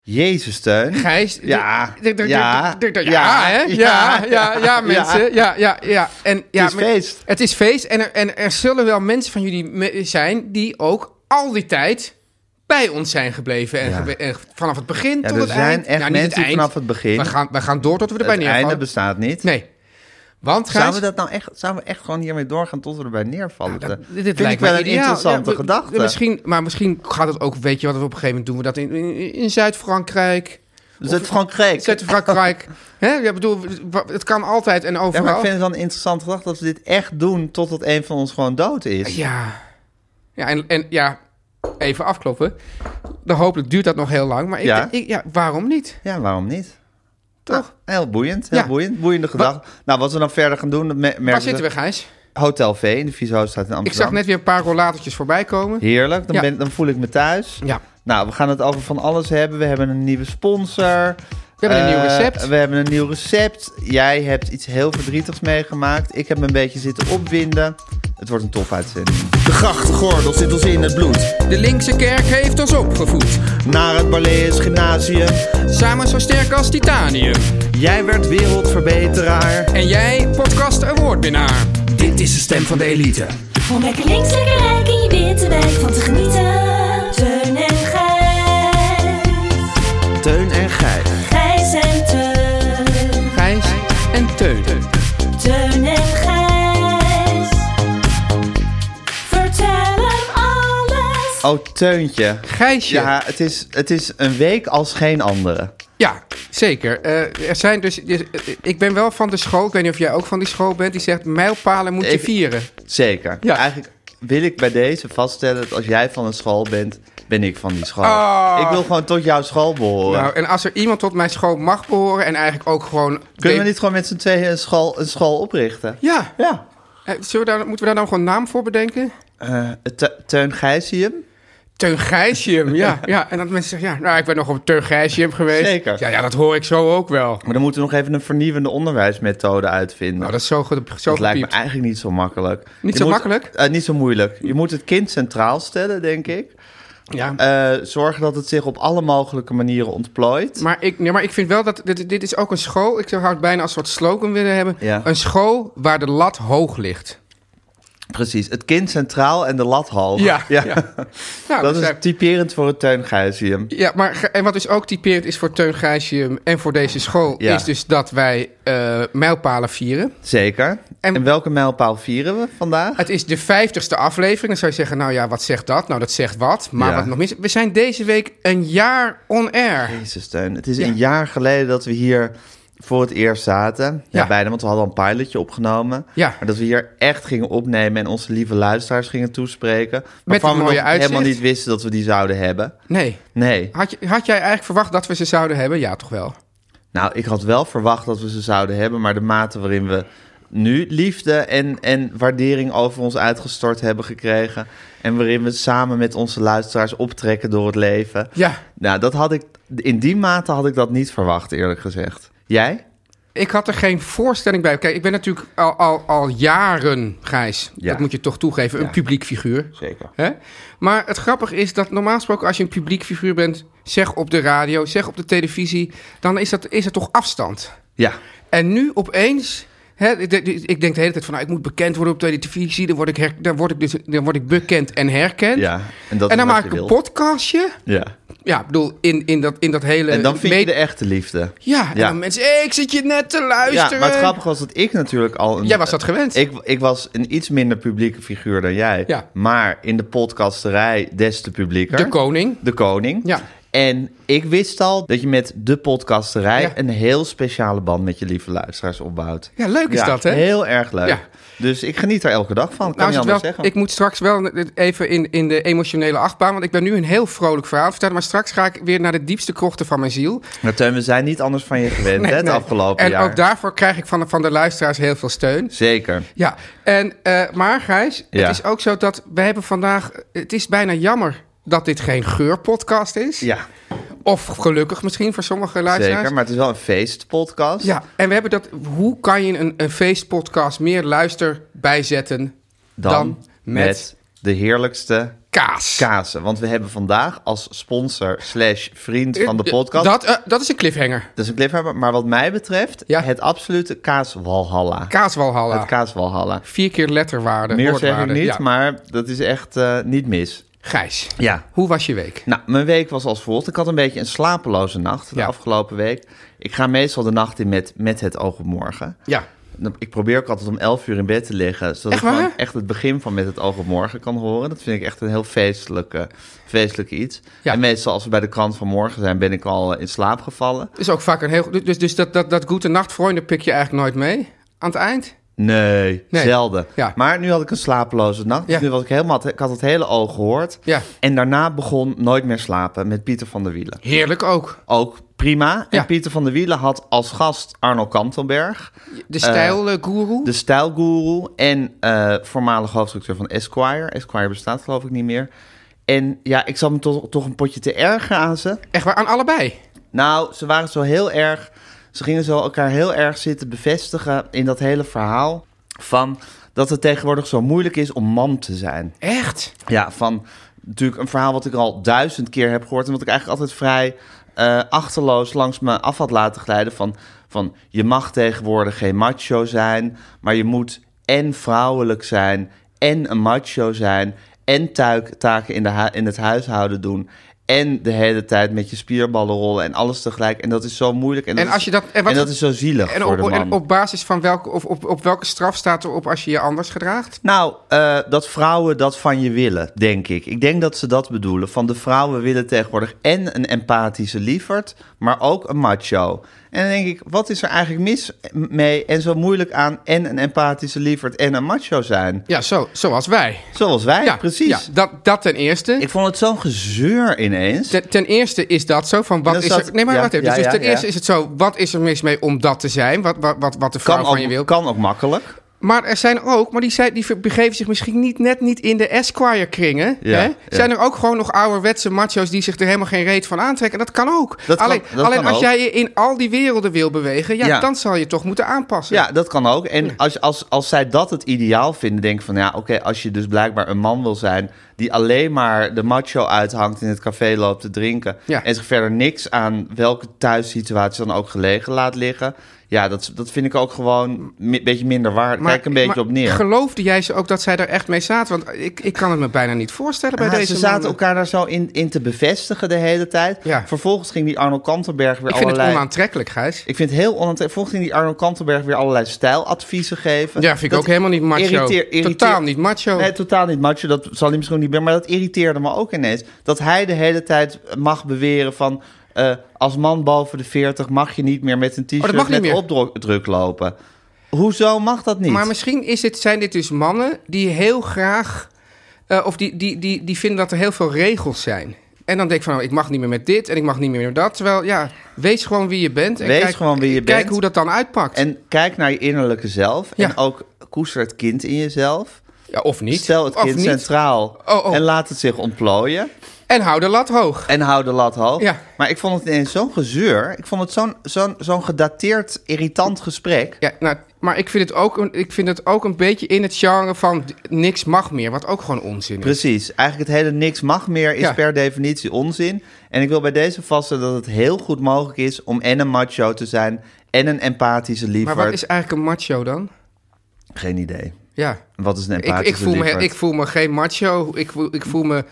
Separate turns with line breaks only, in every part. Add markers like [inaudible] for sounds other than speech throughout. Jezus, Teun.
Gijs.
Ja.
d- d- d-
Ja.
d- d- d-
Ja.
Ja, ah, hè? Ja, ja, ja, mensen. Ja, ja, ja. En, ja
is
maar-
feest.
Het is feest. En er, en er zullen wel mensen van jullie me- zijn die ook al die tijd bij ons zijn gebleven. En,
Ja.
gebe- en vanaf het begin
Ja,
tot
er
het
zijn
eind.
echt
niet
mensen die vanaf het begin-
We gaan, we gaan door tot we erbij
Het einde
neervallen.
bestaat niet.
Nee. Want, Gijs...
Zouden we, dat nou echt, zouden we echt gewoon hiermee doorgaan tot we erbij neervallen?
Nou, Dat-
Teun?
dit
Vind
lijkt
ik wel
mij
een
ideaal.
interessante
Ja, we-
gedachte.
Misschien, maar misschien gaat het ook, weet je wat, we op een gegeven moment doen we dat in, in, in Zuid-Frankrijk.
Dus Zuid-Frankrijk. [laughs]
Zuid-Frankrijk. Hè? Ja, bedoel, wa- het kan altijd en
Ja,
overal.
maar ik vind het wel een interessante gedachte dat we dit echt doen totdat een van ons gewoon dood is.
Ja. Ja, en, en ja, even afkloppen. Dan hopelijk duurt dat nog heel lang. Maar ik,
Ja.
denk- ik, ja, waarom niet?
Ja, waarom niet?
Toch?
Nou, heel boeiend, heel
Ah. Ja.
boeiend. Boeiende gedachte. nou, wat we dan verder gaan doen, dat me- merken
Waar zitten we, Gijs?
Hotel V in de Vieshoofdstraat in
Ik
Amsterdam.
zag net weer een paar rollatertjes voorbij komen.
Heerlijk, dan,
Ja.
ben, dan voel ik me thuis.
Ja.
Nou, we gaan het over van alles hebben. We hebben een nieuwe sponsor.
We hebben een
Eh,
nieuw recept.
We hebben een nieuw recept. Jij hebt iets heel verdrietigs meegemaakt. Ik heb me een beetje zitten opwinden. Het wordt een topuitzending.
De grachtgordel zit ons in het bloed.
De linkse kerk heeft ons opgevoed.
Naar het Barlees Gymnasium.
Samen zo sterk als titanium.
Jij werd wereldverbeteraar.
En jij, podcast awardwinnaar.
Dit is de stem van de elite.
Om lekker links, lekker rijk in je witte wijk van te genieten. Teun en Gijs.
Teun en Gijs.
Gijs en Teun.
Gijs en Teude.
Teun en Gijs. Vertel hem alles.
Oh, Teuntje.
Gijsje.
Ja, het is, het is een week als geen andere.
Ja, zeker. Eh, er zijn dus, dus, eh, ik ben wel van de school, ik weet niet of jij ook van die school bent, die zegt mijlpalen moet je
Ik-
vieren.
Zeker.
Ja.
Eigenlijk wil ik bij deze vaststellen dat als jij van een school bent, ben ik van die school.
Ah.
Ik wil gewoon tot jouw school behoren.
Nou, en als er iemand tot mijn school mag behoren en eigenlijk ook gewoon...
Kunnen we niet gewoon met z'n tweeën een school, een school oprichten?
Ja.
Ja.
Eh, Zullen we daar, moeten we daar dan gewoon een naam voor bedenken?
Eh, Te- Teun Gijsium?
Teun
[laughs]
Gijsjum, ja, ja. En dat mensen zeggen, ja, nou, ik ben nog op Teun Gijsjum geweest.
Zeker.
Ja, ja, dat hoor ik zo ook wel.
Maar dan moeten we nog even een vernieuwende onderwijsmethode uitvinden.
Nou, dat is zo goed, zo
Dat lijkt me
gepiept.
eigenlijk niet zo makkelijk.
Niet zo makkelijk?
eh, niet zo moeilijk. Je moet het kind centraal stellen, denk ik.
Ja.
Eh, zorgen dat het zich op alle mogelijke manieren ontplooit.
Maar ik, nee, maar ik vind wel dat dit, dit is ook een school. Ik zou het bijna als soort slogan willen hebben.
Ja.
Een school waar de lat hoog ligt.
Precies, het kind centraal en de lat hoog.
Ja, ja. Nou,
dat
dus
is
daar-
typerend voor het Teun Gijsium.
Ja, maar ge- en wat dus ook typerend is voor Teun Gijsjum en voor deze school...
Ja.
is dus dat wij eh, mijlpalen vieren.
Zeker. En,
En-
welke mijlpaal vieren we vandaag?
Het is de vijftigste aflevering. Dan zou je zeggen, nou ja, wat zegt dat? Nou, dat zegt wat. Maar
Ja.
wat nog mis... We zijn deze week een jaar on-air.
Jezus, Teun. Het is
Ja.
een jaar geleden dat we hier voor het eerst zaten. Ja,
Ja.
bijna, want we hadden al een pilotje opgenomen.
Ja.
Maar dat we hier echt gingen opnemen en onze lieve luisteraars gingen toespreken.
Met
waarvan
een
we
mooie
nog
uitzicht.
helemaal niet wisten dat we die zouden hebben.
Nee.
Nee.
Had, je, had jij eigenlijk verwacht dat we ze zouden hebben? Ja, toch wel.
Nou, ik had wel verwacht dat we ze zouden hebben, maar de mate waarin we nu liefde en, en waardering over ons uitgestort hebben gekregen. En waarin we samen met onze luisteraars optrekken door het leven.
Ja.
Nou, dat had ik, in die mate had ik dat niet verwacht, eerlijk gezegd. Jij?
Ik had er geen voorstelling bij. Kijk, ik ben natuurlijk al, al, al jaren, Gijs,
Ja.
dat moet je toch toegeven, een
Ja.
publiek figuur.
Zeker.
Hè? Maar het grappige is dat normaal gesproken als je een publiek figuur bent, zeg op de radio, zeg op de televisie, dan is, dat, is er toch afstand.
Ja,
En nu opeens Hè, ik, denk- ik denk de hele tijd van, nou, ik moet bekend worden op de televisie. Dan word ik, her, dan word ik, dus, dan word ik bekend en herkend.
Ja, en dat
en
is wat
dan maak
je
ik een
wilt.
podcastje.
Ja.
Ja, ik bedoel, in, in, dat, in dat hele...
En dan vind je
me-
de echte liefde.
Eh, Ja, en
Ja.
dan mensen, hey, ik zit je net te luisteren.
Ja, maar het grappige was dat ik natuurlijk al... Een,
Jij was dat gewend.
Ik, ik was een iets minder publieke figuur dan jij.
Ja.
Maar in de podcasterij des te publieker.
De koning.
De koning.
Ja.
En ik wist al dat je met de podcasterij...
Ja.
een heel speciale band met je lieve luisteraars opbouwt.
Ja, leuk is
Ja,
dat, hè?
Heel erg leuk.
Ja.
Dus ik geniet er elke dag van. Kan
Nou, is
je
het
anders
wel,
zeggen.
ik moet straks wel even in, in de emotionele achtbaan. Want ik ben nu een heel vrolijk verhaal vertellen. Maar straks ga ik weer naar de diepste krochten van mijn ziel.
Maar Teun, we zijn niet anders van je gewend hè, het
Nee.
afgelopen
en
jaar.
ook daarvoor krijg ik van de, van de luisteraars heel veel steun.
Zeker.
Ja, en, eh, maar Gijs,
Ja.
het is ook zo dat we hebben vandaag... Het is bijna jammer dat dit geen geurpodcast is.
Ja,
Of gelukkig misschien voor sommige luisteraars.
zeker. Maar het is wel een feestpodcast.
Ja, en we hebben dat... Hoe kan je een, een feestpodcast meer luister bijzetten dan,
Dan, met...
met
de heerlijkste
kaas?
kazen. Want we hebben vandaag als sponsor slash vriend van de podcast...
Dat, eh, dat is een cliffhanger.
Dat is een cliffhanger, maar wat mij betreft...
Ja.
het absolute kaaswalhalla.
Kaaswalhalla.
Het kaaswalhalla.
Vier keer letterwaarde.
Meer zeg ik
woordwaarde.
niet,
Ja.
maar dat is echt eh, niet mis.
Gijs,
Ja.
hoe was je week?
Nou, mijn week was als volgt. Ik had een beetje een slapeloze nacht de
Ja.
afgelopen week. Ik ga meestal de nacht in met, met het oog op morgen.
Ja.
Ik probeer ook altijd om 11 uur in bed te liggen. Zodat
Echt
ik gewoon
waar?
echt het begin van met het oog op morgen kan horen. Dat vind ik echt een heel feestelijke, feestelijke iets.
Ja.
En meestal als we bij de krant van morgen zijn, ben ik al eh, in slaap gevallen.
Is ook vaak een heel... Dus, dus dat, dat, dat goede nachtvrienden pik je eigenlijk nooit mee aan het eind?
Nee,
Nee.
zelden.
Ja.
Maar nu had ik een slapeloze nacht. Dus
Ja.
nu was ik helemaal, ik had het hele oog gehoord.
Ja.
En daarna begon Nooit meer slapen met Pieter van der Wielen.
Heerlijk ook.
Ook prima. En
Ja.
Pieter van der Wielen had als gast Arno Kantelberg,
De eh, stijlgoeroe.
Eh, de stijlgoeroe en eh voormalig hoofdstructeur van Esquire. Esquire bestaat geloof ik niet meer. En ja, ik zat me toch, toch een potje te erg aan ze.
Echt waar, aan allebei.
Nou, ze waren zo heel erg. Ze gingen zo elkaar heel erg zitten bevestigen in dat hele verhaal. Van dat het tegenwoordig zo moeilijk is om man te zijn.
Echt?
Ja, van natuurlijk een verhaal wat ik al duizend keer heb gehoord. En wat ik eigenlijk altijd vrij eh, achterloos langs me af had laten glijden. Van, van je mag tegenwoordig geen macho zijn. Maar je moet en vrouwelijk zijn. En een macho zijn. En tuik, taken in, de hu- in het huishouden doen. En de hele tijd met je spierballen rollen en alles tegelijk. En dat is zo moeilijk. En,
En
dat,
als
is,
je dat- en wat-
dat is zo zielig
En
voor
op,
de man.
en op basis van welke, of op, op welke straf staat erop als je je anders gedraagt?
Nou, eh, dat vrouwen dat van je willen, denk ik. Ik denk dat ze dat bedoelen. Van de vrouwen willen tegenwoordig en een empathische lieverd, maar ook een macho. En dan denk ik, wat is er eigenlijk mis mee en zo moeilijk aan en een empathische lieverd en een macho zijn?
Ja, zo, zoals wij.
Zoals wij,
Ja,
precies.
Ja, dat, dat ten eerste.
Ik vond het zo'n gezeur ineens.
Ten, ten eerste is dat zo van
En
wat
dan
is
staat-
er. Nee, maar
ja,
wacht even. Dus,
ja,
dus
ja,
ten eerste
ja.
is het zo. Wat is er mis mee om dat te zijn? Wat, wat, wat, wat de vrouw
kan,
van je wil.
ook, kan ook makkelijk.
Maar er zijn ook, maar die, zijn, die ver- begeven zich misschien niet, net niet in de Esquire-kringen.
Ja,
hè?
ja.
Zijn er ook gewoon nog ouderwetse macho's die zich er helemaal geen reet van aantrekken? Dat kan ook.
Dat kan-
alleen
dat
alleen
kan
als
ook.
jij je in al die werelden wil bewegen, ja,
Ja.
dan zal je toch moeten aanpassen.
Ja, dat kan ook. En als, als, als zij dat het ideaal vinden, denk ik van ja, oké, als je dus blijkbaar een man wil zijn die alleen maar de macho uithangt in het café loopt te drinken
Ja.
en zich verder niks aan welke thuissituatie dan ook gelegen laat liggen. Ja, dat, dat vind ik ook gewoon een beetje minder waar. Kijk een beetje
maar
op neer.
Geloofde jij ze ook dat zij er echt mee zaten? Want ik, ik kan het me bijna niet voorstellen bij
Ah,
deze
ze zaten
mannen.
elkaar daar zo in, in te bevestigen de hele tijd.
Ja.
Vervolgens ging die Arno Kantenberg weer
Ik vind
allerlei...
het onaantrekkelijk, Gijs.
Ik vind het heel onaantrekkelijk. Volgens ging die Arno Kantenberg weer allerlei stijladviezen geven.
Ja, vind ik
Dat
ook helemaal niet macho. Totaal niet macho.
Nee, totaal niet macho. Dat zal hij misschien niet meer. Maar dat irriteerde me ook ineens. Dat hij de hele tijd mag beweren van... eh, als man boven de 40 mag je niet meer met een
Oh, dat
t-shirt
mag niet
met
meer.
opdruk lopen. Hoezo mag dat niet?
Maar misschien is dit, zijn dit dus mannen die heel graag. eh, of die, die, die, die vinden dat er heel veel regels zijn. En dan denk ik van, oh, ik mag niet meer met dit en ik mag niet meer met dat. Terwijl, ja, wees gewoon wie je bent. En
Wees
kijk,
gewoon wie je
kijk
bent.
hoe dat dan uitpakt.
En kijk naar je innerlijke zelf.
Ja.
En ook koester het kind in jezelf.
ja, of niet.
Stel het
of
kind
niet.
centraal.
Oh, oh.
En laat het zich ontplooien.
En hou de lat hoog.
En hou de lat hoog.
Ja.
Maar ik vond het ineens zo'n gezeur. Ik vond het zo'n zo'n zo'n gedateerd, irritant gesprek.
Ja, nou, maar ik vind, het ook een, ik vind het ook een beetje in het genre van niks mag meer. Wat ook gewoon onzin is.
Precies. Eigenlijk het hele niks mag meer is
Ja.
per definitie onzin. En ik wil bij deze vaststellen dat het heel goed mogelijk is om en een macho te zijn... en een empathische
Maar
liefde.
wat is eigenlijk een macho dan?
Geen idee.
Ja.
Wat is een
Ik,
empathische
ik, voel me,
liefde?
ik voel me geen macho. Ik, voel- ik voel me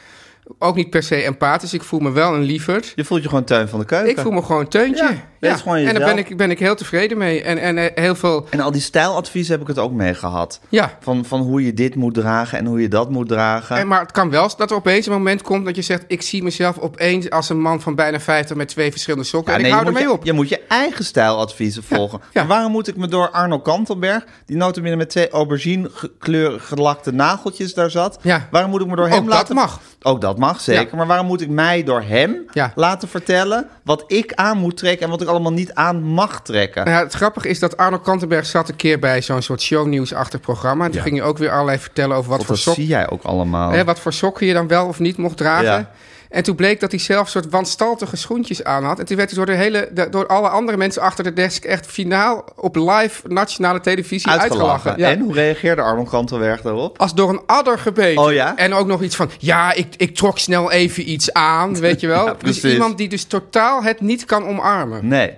ook niet per se empathisch. Ik voel me wel een lieverd.
Je voelt je gewoon Teun van de Keuken.
Ik voel me gewoon een teuntje.
Ja, wees gewoon
En daar
jezelf.
ben ik, ben ik heel tevreden mee. En, en eh, heel veel...
En al die stijladviezen heb ik het ook mee gehad.
Ja.
Van, van hoe je dit moet dragen en hoe je dat moet dragen.
En, maar het kan wel dat er opeens een moment komt dat je zegt... ik zie mezelf opeens als een man van bijna 50 met twee verschillende sokken.
Ja,
en
nee,
ik
je
hou
moet
ermee
je,
op.
Je moet je eigen stijladviezen volgen.
ja.
En waarom moet ik me door Arno Kantelberg, die notabene met twee aubergine gekleurde gelakte nageltjes daar zat,
Ja.
waarom moet ik me door hem
Ook dat
laten...
mag.
Ook dat mag, zeker.
Ja.
Maar waarom moet ik mij door hem
Ja.
laten vertellen wat ik aan moet trekken en wat ik allemaal niet aan mag trekken?
Nou ja, het grappige is dat Arno Kantenberg zat een keer bij zo'n soort shownieuwsachtig programma. En toen
Ja.
ging je ook weer allerlei vertellen over
Want
wat voor
dat
sok
zie jij ook allemaal.
Hè, wat voor sokken je dan wel of niet mocht dragen.
Oh. Ja.
En toen bleek dat hij zelf soort wanstaltige schoentjes aan had. En toen werd hij door, de hele, de- door alle andere mensen achter de desk echt finaal op live nationale televisie uitgelachen. Ja.
En hoe reageerde Arno Kantelberg daarop?
Als door een adder gebeten.
Oh ja?
En ook nog iets van, ja, ik, ik trok snel even
[laughs]
iets aan, weet je wel.
Ja,
dus
precies.
iemand die dus totaal het niet kan omarmen.
Nee.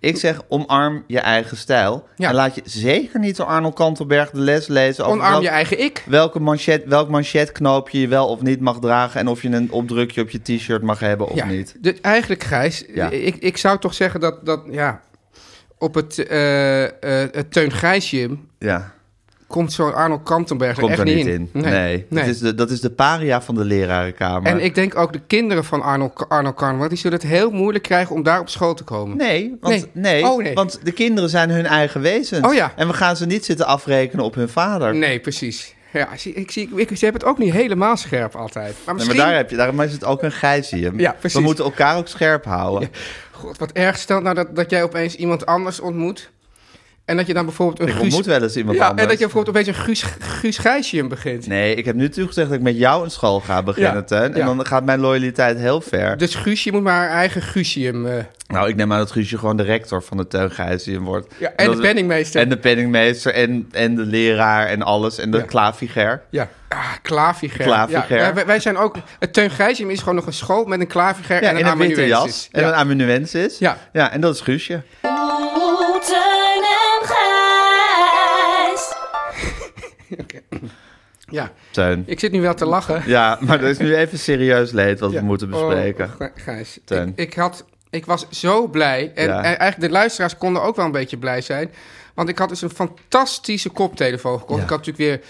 Ik zeg, omarm je eigen stijl.
Ja.
En laat je zeker niet door Arno Kantelberg de les lezen over
Omarm
welk-
je eigen ik.
welke manchet, welk manchetknoopje je wel of niet mag dragen... en of je een opdrukje op je t-shirt mag hebben of niet.
Dus eigenlijk, Gijs,
Ja.
ik, ik zou toch zeggen dat, dat ja, op het, eh eh, het Teun Gijsje
Ja,
komt zo'n Arnold Kantenberg er
komt
echt
er niet in. Nee, Dat,
nee.
is de, dat is de paria van de lerarenkamer.
En ik denk ook de kinderen van Arnold Arno Kantenberg... die zullen het heel moeilijk krijgen om daar op school te komen.
Nee, want,
Nee.
nee.
Oh, nee.
want de kinderen zijn hun eigen wezens.
Oh, ja.
En we gaan ze niet zitten afrekenen op hun vader.
Nee, precies. Ja, zie, ik, zie, ik, ze hebben het ook niet helemaal scherp altijd. Maar
Nee,
misschien...
maar daar heb je, daarom is het ook een gijzium.
Ja, precies.
We moeten elkaar ook scherp houden.
God, wat erg. Stel nou dat, dat jij opeens iemand anders ontmoet... en dat je dan bijvoorbeeld een
Ik
Guus-
ontmoet wel eens iemand
ja,
anders.
en dat je bijvoorbeeld opeens een Guus, Guus Gijsje begint.
Nee, ik heb nu toegezegd dat ik met jou een school ga beginnen,
Ja,
Teun. En
ja.
dan gaat mijn loyaliteit heel ver.
Dus Guus, je moet maar haar eigen Guusje eh,
Nou, ik neem aan dat Guusje gewoon de rector van de Teun Gijsje wordt.
Ja, en
dat-
de penningmeester.
En de penningmeester en, en de leraar en alles. En de
Ja.
klaviger.
Ja. Ah, klaviger.
Klaviger.
Ja, wij, wij zijn ook... Het Teun Gijsje is gewoon nog een school met een klaviger
Ja,
en een
witte
amanuensis.
jas. En
Ja.
een amanuensis.
Ja.
ja, en dat is Guusje.
Oeh, Teun en Gijs.
Ja.
Teun.
Ik zit nu wel te lachen.
Ja, maar dat is nu even serieus leed wat
Ja.
we moeten bespreken.
Oh, Gij- Gijs, ik,
Teun.
ik, had, ik was zo blij. En
Ja.
en eigenlijk de luisteraars konden ook wel een beetje blij zijn. Want ik had dus een fantastische koptelefoon gekocht.
Ja.
Ik had natuurlijk weer,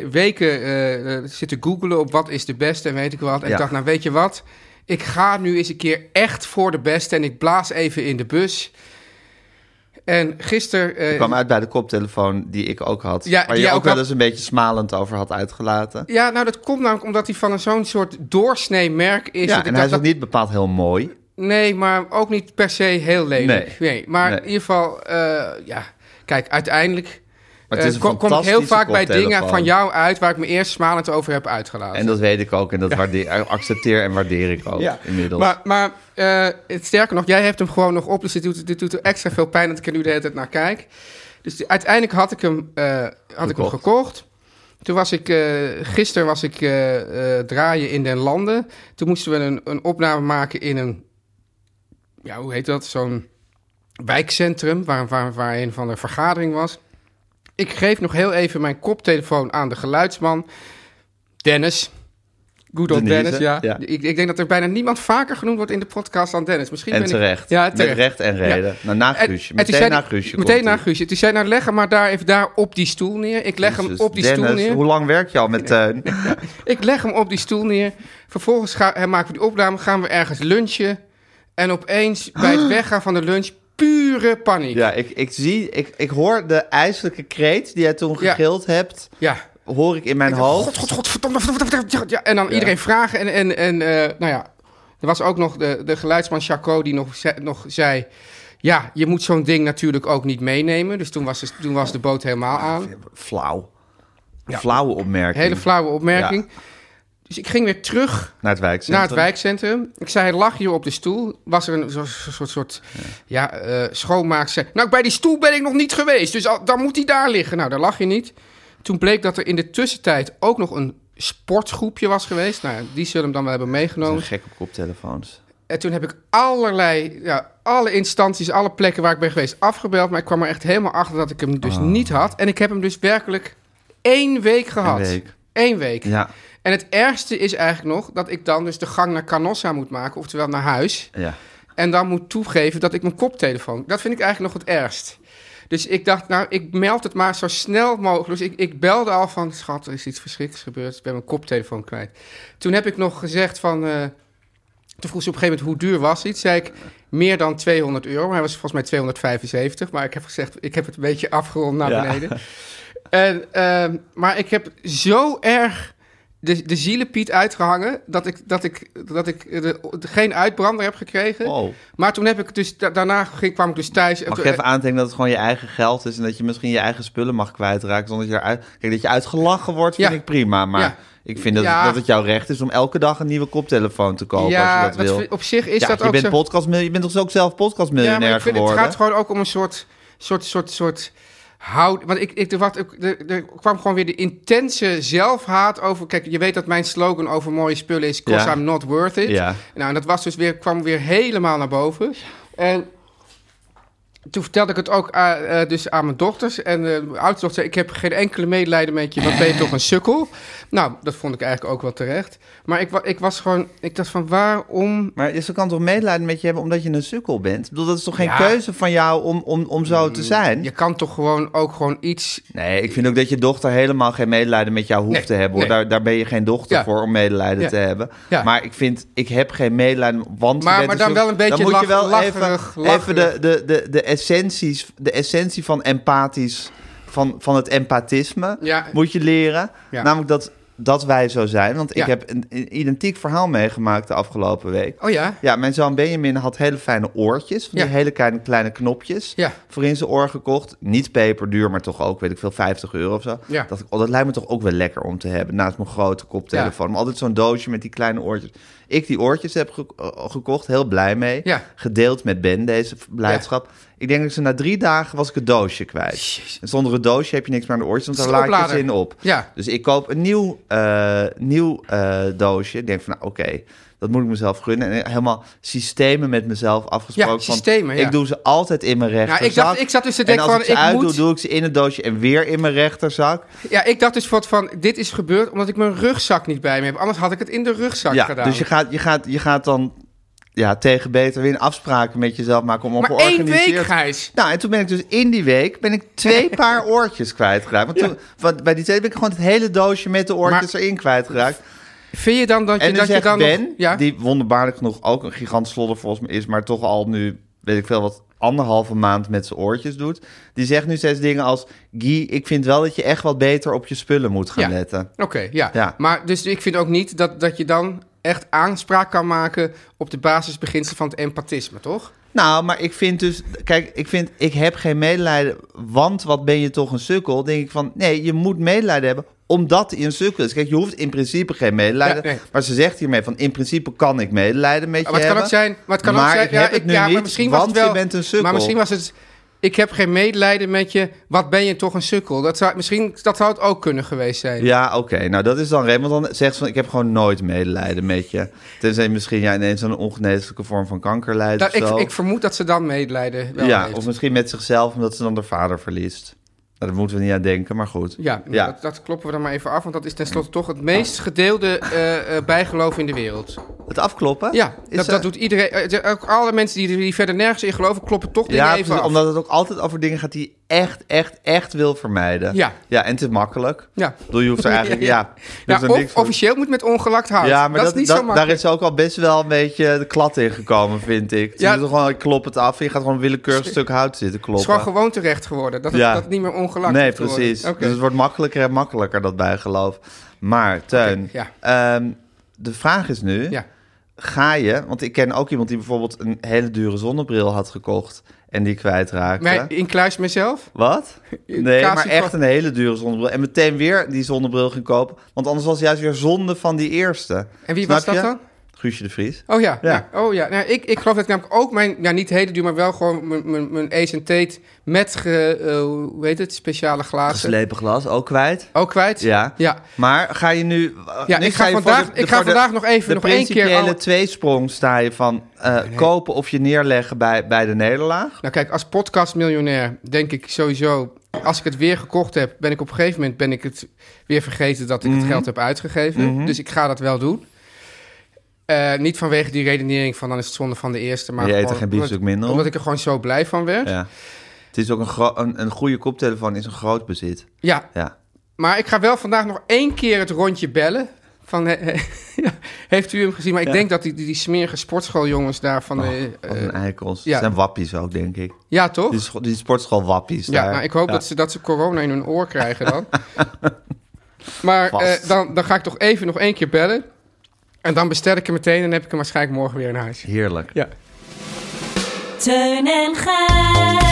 weer weken eh, eh, zitten googelen op wat is de beste en weet ik wat. En
Ja.
ik dacht, nou weet je wat? Ik ga nu eens een keer echt voor de beste. En ik blaas even in de bus. En gisteren... eh,
Ik kwam uit bij de koptelefoon die ik ook had.
Ja,
waar
die
je
jij
ook
ook
wel
had.
eens een beetje smalend over had uitgelaten.
ja, nou dat komt namelijk omdat hij van zo'n soort doorsnee merk is.
Ja,
dat ik
en hij
dacht,
is ook
dat-
niet bepaald heel mooi.
Nee, maar ook niet per se heel lelijk. Nee,
Nee.
maar
Nee.
in ieder geval, eh, ja, kijk, uiteindelijk
Maar het is
eh,
een
kom, kom ik heel
fantastische
vaak bij dingen
koptelefoon.
van jou uit waar ik me eerst smalend over heb uitgelaten.
En dat weet ik ook en dat waardeer, accepteer en waardeer ik ook
Ja.
inmiddels.
Maar, maar eh, het, sterker nog, jij hebt hem gewoon nog op, dus dit doet, dit doet er extra veel pijn dat ik er nu de hele tijd naar kijk. Dus die- uiteindelijk had ik hem, eh, had ik hem
Gekocht.
gekocht. Toen was ik, eh, gisteren was ik eh, eh, draaien in Den Landen. Toen moesten we een, een opname maken in een, ja, hoe heet dat, zo'n wijkcentrum waar, waar, waar een van de vergadering was. Ik geef nog heel even mijn koptelefoon aan de geluidsman, Dennis. Good old
Denise,
Dennis, ja.
ja.
Ik, ik denk dat er bijna niemand vaker genoemd wordt in de podcast dan Dennis. Misschien
en
ben ik-
terecht.
ja,
Met
terecht.
recht en reden. Nou, na
En-
Guusje.
en toen
Meteen
zei
na
hij-
Guusje.
Meteen na
komt hij.
Guusje. Toen zei hij, nou, leg hem maar daar even daar op die stoel neer. Ik leg hem
Jezus,
op die stoel
Dennis,
neer.
hoe lang werk je al met eh, [laughs] Teun?
Ik leg hem op die stoel neer. Vervolgens ga- eh, maken we die opname, gaan we ergens lunchen. En opeens bij
[gasps]
het weggaan van de lunch pure paniek.
Ja, ik, ik zie, ik, ik hoor de ijselijke kreet die jij toen
Ja.
gegild hebt,
Ja.
hoor ik in mijn hoofd.
God, god, god, verdomme, verdomme, verdomme. Ja, en dan iedereen vragen. En, en, en eh, nou ja, er was ook nog de, de geluidsman Chaco die nog, ze- nog zei... Ja, je moet zo'n ding natuurlijk ook niet meenemen. Dus toen was, de- toen was de boot helemaal aan.
Flauw. Flauwe opmerking.
Hele flauwe opmerking. Dus ik ging weer terug
Naar het wijkcentrum.
naar het wijkcentrum. Ik zei, lag hier op de stoel. Was er een zo- zo- soort, soort ja. eh schoonmaak. zei, nou, bij die stoel ben ik nog niet geweest. Dus al- dan moet die daar liggen. Nou, daar lag je niet. Toen bleek dat er in de tussentijd ook nog een sportgroepje was geweest. Nou, ja, die zullen hem dan wel hebben
Ik ben
meegenomen.
gek op koptelefoons.
En toen heb ik allerlei, ja, alle instanties, alle plekken waar ik ben geweest afgebeld. Maar ik kwam er echt helemaal achter dat ik hem dus
Ah.
niet had. En ik heb hem dus werkelijk één week gehad.
week.
Eén week.
Ja,
En het ergste is eigenlijk nog dat ik dan dus de gang naar Canossa moet maken, oftewel naar huis.
ja.
En dan moet toegeven dat ik mijn koptelefoon. Dat vind ik eigenlijk nog het ergst. Dus ik dacht, nou, ik meld het maar zo snel mogelijk. Dus ik, ik belde al van, schat, er is iets verschrikkelijks gebeurd. Ik ben mijn koptelefoon kwijt. Toen heb ik nog gezegd van... eh, toen vroeg ze op een gegeven moment hoe duur was iets. Zei ik, meer dan 200 euro. Maar hij was volgens mij 275. Maar ik heb gezegd, ik heb het een beetje afgerond naar
Ja.
beneden. En, ehm, maar ik heb zo erg de, de zielenpiet uitgehangen... dat ik, dat ik, dat ik eh, de- geen uitbrander heb gekregen.
Wow.
Maar toen heb ik dus, da- daarna ging, kwam ik dus thuis. en
Mag ik
toen-
even aantekenen dat het gewoon je eigen geld is en dat je misschien je eigen spullen mag kwijtraken zonder dat je eruit... Kijk, dat je uitgelachen wordt vind
Ja.
ik prima, maar
Ja.
ik vind dat,
Ja.
dat het jouw recht is om elke dag een nieuwe koptelefoon te kopen
ja,
als je dat wil.
vind- op zich is
ja,
dat
je
ook
bent
zo.
podcastmil- je bent toch ook zelf
ja,
podcastmiljonair
maar ik vind, het
geworden?
gaat gewoon ook om een soort, soort, soort, soort houd. Want ik, ik, er, wat, ik- er, er kwam gewoon weer de intense zelfhaat over. Kijk, je weet dat mijn slogan over mooie spullen is: Cause
Ja.
I'm not worth it.
Ja.
Nou, en dat was dus weer, kwam weer helemaal naar boven. En toen vertelde ik het ook aan, eh, dus aan mijn dochters. En eh, mijn oudste dochter zei, ik heb geen enkele medelijden met je. Wat ben je toch een sukkel? Nou, dat vond ik eigenlijk ook wel terecht. Maar ik, wa- ik was gewoon... Ik dacht van, waarom...
Maar ze kan toch medelijden met je hebben omdat je een sukkel bent? Ik bedoel, dat is toch geen
Ja. Mm,
keuze van jou om, om, om zo te zijn?
Je kan toch gewoon ook gewoon iets...
Nee, ik vind ook dat je dochter helemaal geen medelijden met jou hoeft
Nee,
te hebben. Hoor.
nee.
Daar, daar ben je geen dochter
Ja.
voor om medelijden
Ja.
te hebben.
Ja.
Maar ik vind, ik heb geen medelijden. Want je
Maar-
bent
maar dan
zo-
wel een beetje
dan moet je
lach-
wel
lacherig,
even, even de,
lacherig.
de, de, de, essenties, de essentie van empathisch, van, van het empathisme,
Ja.
moet je leren.
Ja.
Namelijk dat, dat wij zo zijn. Want ik
Ja.
heb een, een identiek verhaal meegemaakt de afgelopen week.
Oh ja?
Ja, mijn zoon Benjamin had hele fijne oortjes. Van die
Ja.
hele kleine, kleine knopjes.
Ja.
Voor in zijn oor gekocht. Niet peperduur, maar toch ook, weet ik veel, 50 euro of zo.
Ja.
Dacht ik, oh, dat lijkt me toch ook wel lekker om te hebben. Naast mijn grote koptelefoon. Maar altijd zo'n doosje met die kleine oortjes. Ik die oortjes heb ge- eh, gekocht, heel blij mee.
Ja.
Gedeeld met Ben, deze blijdschap. Ik denk dat ze na drie dagen was ik het doosje kwijt. En zonder het doosje heb je niks meer aan de oortjes, want
Het is
daar
de
laat je ze in
oplader.
op.
Ja.
Dus ik koop een nieuw, eh, nieuw eh, doosje. Ik denk van, nou, oké, dat moet ik mezelf gunnen. En helemaal systemen met mezelf afgesproken.
Ja,
van,
systemen, ja. Nou,
Ik doe ze altijd in mijn rechterzak.
ik dacht- ik zat dus te denken
en als ik
van,
ze
ik
uitdoe,
moet-
doe ik ze in het doosje en weer in mijn rechterzak.
Ja, ik dacht dus wat van, dit is gebeurd omdat ik mijn rugzak niet bij me heb. Anders had ik het in de rugzak
ja,
gedaan.
dus je gaat, je gaat, je gaat dan ja, tegen beter weer afspraken met jezelf maken om
maar één
ongeorganiseerd-
week, Gijs.
Nou, en toen ben ik dus in die week ben ik
[laughs]
twee paar oortjes kwijtgeraakt. Want, toen, want bij die twee ben ik gewoon het hele doosje met de oortjes
Maar-
erin kwijtgeraakt.
Vind je dan dat je,
En dan
dat je
zegt
dan nog-
Ben,
ja?
die wonderbaarlijk genoeg ook een gigant slodder volgens mij is, maar toch al nu, weet ik veel wat, anderhalve maand met zijn oortjes doet. Die zegt nu steeds dingen als, Guy, ik vind wel dat je echt wat beter op je spullen moet gaan
Ja.
letten.
Oké, ja.
Ja.
Maar dus ik vind ook niet dat, dat je dan echt aanspraak kan maken op de basisbeginselen van het empathisme, toch?
Nou, maar ik vind dus, kijk, ik vind, ik heb geen medelijden, want wat ben je toch een sukkel? Denk ik van, nee, je moet medelijden hebben omdat hij een sukkel is. Kijk, je hoeft in principe geen medelijden.
Ja, nee.
Maar ze zegt hiermee van, in principe kan ik medelijden met je
Maar het kan
hebben.
ook zijn... Maar het kan ook zijn...
ik heb het nu
maar
niet,
misschien was
want
het wel,
je bent een sukkel.
Maar misschien was het... Ik heb geen medelijden met je. Wat ben je toch een sukkel? Dat zou, misschien dat zou het ook kunnen geweest zijn.
Ja, oké. Nou, dat is dan reden. Want dan zegt ze van, ik heb gewoon nooit medelijden met je. Tenzij misschien jij ineens aan een ongeneeslijke vorm van kanker lijdt
Dat,
of
Nou, ik,
zo.
ik vermoed dat ze dan medelijden wel
ja,
heeft.
of misschien met zichzelf, omdat ze dan haar vader verliest. Nou, daar moeten we niet aan denken, maar goed.
Ja, Nou, Dat, dat kloppen we dan maar even af. Want dat is tenslotte toch het
Nou.
meest gedeelde eh, eh, bijgeloof in de wereld.
Het afkloppen?
Ja,
Is,
dat,
eh,
dat doet iedereen. eh, ook alle mensen die, die verder nergens in geloven, kloppen toch dingen
Ja,
even
precies,
af.
omdat het ook altijd over dingen gaat die je echt, echt, echt wil vermijden.
Ja.
Ja, en het is makkelijk.
Ja.
Ik bedoel, je hoeft er
[laughs]
eigenlijk, ja. je
Ja,
hoeft er
Nou, of
niks voor-
officieel moet met ongelakt hout.
Ja, maar
dat,
dat
is niet
dat-
zo
daar
makkelijk.
is ook al best wel een beetje de klad in gekomen, vind ik. Het
Ja.
is gewoon, ik klop het af. Je gaat gewoon een willekeurig stuk hout zitten
Het
kloppen.
is gewoon gewoon terecht geworden. Dat, het-
Ja.
dat het niet meer ongelakt
Nee,
hoeft te worden.
precies.
Oké.
Dus het wordt makkelijker en makkelijker, dat bijgeloof. Maar, Teun,
Oké,
ehm, de vraag is nu,
Ja.
ga je... Want ik ken ook iemand die bijvoorbeeld een hele dure zonnebril had gekocht... en die kwijtraakte.
Maar in kluis mezelf?
Wat?
In
Nee,
kaas-
maar echt een hele dure zonnebril. En meteen weer die zonnebril ging kopen. Want anders was het juist weer zonde van die eerste.
En wie
Snap
was dat
je?
dan?
Guusje de Vries.
Oh ja,
Ja.
ja, oh ja. Nou, ik, ik geloof dat ik namelijk ook mijn, ja, niet hele duur, maar wel gewoon mijn- mijn mijn ace en tate met, ge, eh, hoe heet het, speciale glazen.
Geslepen glas, ook kwijt.
Ook kwijt?
Ja.
Ja.
Maar ga je nu...
Ja,
nu
ik ga
je voor
vandaag-
de- de-
ik ga
voor de-
vandaag nog even-
de
nog één keer
principiële
al-
tweesprong sta je van eh, kopen of je neerleggen bij, bij de nederlaag.
Nou kijk, als podcastmiljonair denk ik sowieso... als ik het weer gekocht heb, ben ik op een gegeven moment... ben ik het weer vergeten dat ik
Mhm.
het geld heb uitgegeven. Dus ik ga dat wel doen. Eh, niet vanwege die redenering van dan is het zonde van de eerste. Maar
Je eet er
gewoon
geen biefstuk
omdat-
minder om.
Omdat ik er gewoon zo blij van werd. Ja,
Ja. Het is ook een, gro- een, een goede koptelefoon, is een groot bezit. Ja.
maar ik ga wel vandaag nog één keer het rondje bellen. Van, he- [laughs] he- ja, heeft u hem gezien? Maar ik denk dat die, die, die smerige sportschooljongens daar van... de,
Oh, Wat een
eh,
eikels.
ja.
Het zijn wappies ook, denk ik.
ja, toch?
Die, scho- die sportschool wappies
Ja,
daar.
nou, ik hoop
Ja.
dat, ze, dat ze corona in hun oor krijgen
[laughs]
dan. maar eh,
Vast.
dan, dan ga ik toch even nog één keer bellen. En dan bestel ik hem meteen en dan heb ik hem waarschijnlijk morgen weer in huis.
Heerlijk.
Ja.
Teun en Gijs.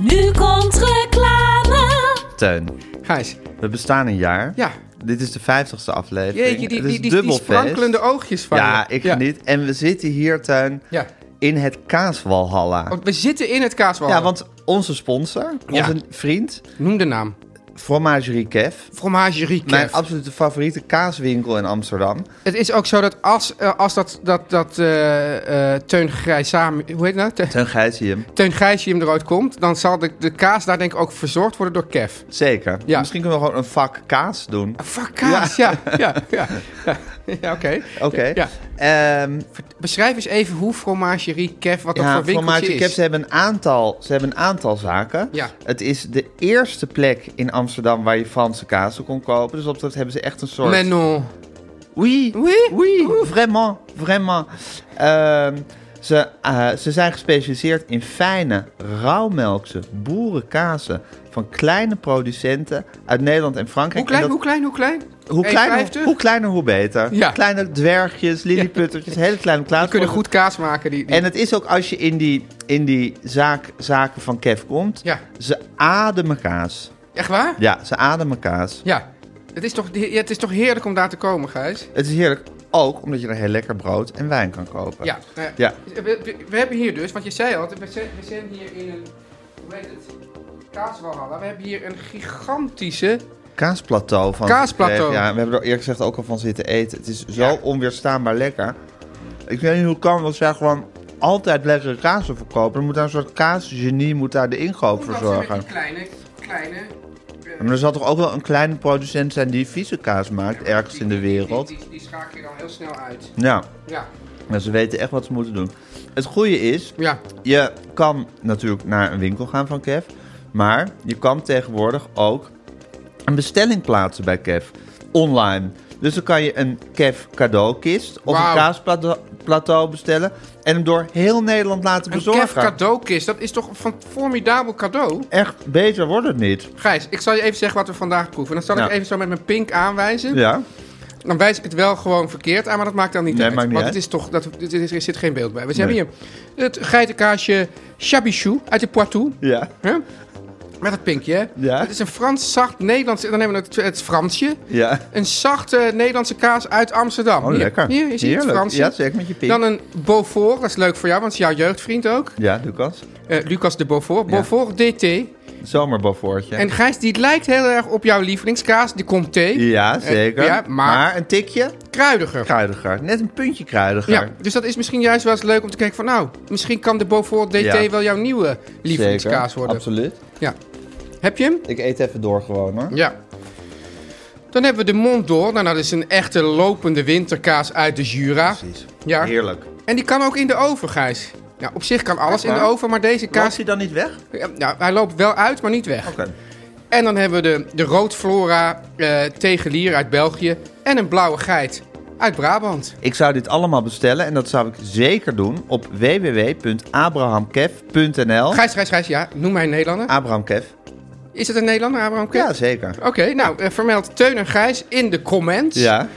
Nu komt reclame.
Teun,
Gijs,
we bestaan een jaar.
ja.
Dit is de vijftigste aflevering.
Jeetje, die,
Het is
die, die, die,
dubbel feest.
sprankelende oogjes van
Ja,
je.
ik geniet. En we zitten hier, Tuin,
Ja.
in het Kaaswalhalla.
Want we zitten in het kaaswal.
Ja, want onze sponsor,
Ja.
onze vriend,
Noem de naam.
Fromagerie Kev.
Fromagerie
Mijn
Kev.
absolute favoriete kaaswinkel in Amsterdam.
Het is ook zo dat als, eh, als dat, dat, dat eh, eh, Teun Grijs samen... Hoe heet dat? Te-
Ten Gijsium.
Teun Grijs hier hem eruit komt, dan zal de, de kaas daar denk ik ook verzorgd worden door Kev.
Zeker.
Ja.
Misschien kunnen we gewoon een vak kaas doen.
Fuck kaas, ja. Ja, ja, ja. [laughs] ja, oké.
Oké.
Ja.
Ehm,
Beschrijf eens even hoe fromagerie Kev, wat dat
ja,
voor winkeltje
Fromagerie
is.
Kev, ze hebben een aantal, ze hebben een aantal zaken.
Ja.
Het is de eerste plek in Amsterdam waar je Franse kazen kon kopen. Dus op dat hebben ze echt een soort...
Maar non.
Oui,
Oui?
oui, vraiment, vraiment. Ehm, ze, eh, ze zijn gespecialiseerd in fijne, rauwmelkse boerenkazen van kleine producenten uit Nederland en Frankrijk.
Hoe klein,
En dat-
hoe klein, hoe klein?
hoe, kleiner,
1,50?
hoe kleiner, hoe beter.
Ja.
Kleine dwergjes, lilliputtertjes, hele kleine klaas.
Die kunnen goed kaas maken. Die, die-
En het is ook als je in die, in die zaak, zaken van Kev komt,
Ja.
ze ademen kaas.
Echt waar?
Ja, ze ademen kaas.
Ja. Het is, toch, ja, het is toch heerlijk om daar te komen, Gijs?
Het is heerlijk, ook omdat je er heel lekker brood en wijn kan kopen.
Ja. nou ja.
Ja.
We, we- we hebben hier dus, want je zei al, we zijn, we zijn hier in een, hoe heet het? Kaaswalhalla. We hebben hier een gigantische...
Kaasplateau van
Kaasplateau.
Ja, we hebben er eerlijk gezegd ook al van zitten eten. Het is zo
Ja.
onweerstaanbaar lekker. Ik weet niet hoe het kan, want zij gewoon altijd lekkere kazen verkopen. Er moet daar een soort kaasgenie moet daar de inkoop voor
Omdat ze met
zorgen.
die kleine, kleine... eh,
Maar er zal toch ook wel een kleine producent zijn die vieze kaas maakt ergens
die-
in de
die- die-
wereld.
Die, die, die schakel je dan heel snel uit.
Ja,
Ja.
maar ze weten echt wat ze moeten doen. Het goede is,
Ja.
je kan natuurlijk naar een winkel gaan van Kev. Maar je kan tegenwoordig ook een bestelling plaatsen bij Kev. Online. Dus dan kan je een Kev cadeaukist of
Wauw.
een kaasplateau bestellen. En hem door heel Nederland laten
Een
bezorgen.
Kev cadeaukist, dat is toch een van- formidabel cadeau?
Echt, beter wordt het niet.
Gijs, ik zal je even zeggen wat we vandaag proeven. Dan zal
Ja.
ik even zo met mijn pink aanwijzen.
Ja,
Dan wijs ik het wel gewoon verkeerd aan, maar dat maakt dan niet
Nee,
uit.
maakt niet
want
uit.
het is toch, dat, dit is, er zit geen beeld bij. We
Nee.
hebben hier het geitenkaasje Chabichou uit de Poitou.
ja,
Hè? Met het pinkje, hè?
Ja.
Het is een Frans, zacht, Nederlands... Dan hebben we het, het Fransje.
ja.
Een zachte Nederlandse kaas uit Amsterdam.
Oh,
Hier,
lekker.
Hier, is hier het
Heerlijk.
Fransje.
Ja, zeker met je pink.
Dan een Beaufort, dat is leuk voor jou, want het is jouw jeugdvriend ook.
Ja, Lucas.
Eh, Lucas de Beaufort. Beaufort DT.
Zomerbafoortje.
En Gijs, die lijkt heel erg op jouw lievelingskaas, die komt thee.
Ja, zeker.
Eh, ja, maar-
maar... een tikje
Kruidiger.
kruidiger. Net een puntje kruidiger.
Ja, dus dat is misschien juist wel eens leuk om te kijken van... nou, misschien kan de Beaufort DT
Ja.
wel jouw nieuwe lievelingskaas
Zeker,
worden.
Absoluut.
Ja. Heb je hem?
Ik eet even door gewoon hoor.
Ja. Dan hebben we de Mont d'Or. Nou, dat is een echte lopende winterkaas uit de Jura.
Precies.
Ja.
Heerlijk.
En die kan ook in de oven, Gijs. Ja, op zich kan alles in de oven, maar deze
Kaas
kaas...
hij dan niet weg?
Ja, nou, hij loopt wel uit, maar niet weg.
Oké.
En dan hebben we de, de roodflora eh tegelier uit België. En een blauwe geit uit Brabant.
Ik zou dit allemaal bestellen en dat zou ik zeker doen op www.abrahamkev.nl.
Gijs, Gijs, Gijs, ja, noem mij een Nederlander.
Abraham Kev.
Is het een Nederlander, Abraham Kemp?
Ja, Ah. zeker.
Oké, nou, eh, vermeld Teun en Gijs in de comments.
Ja.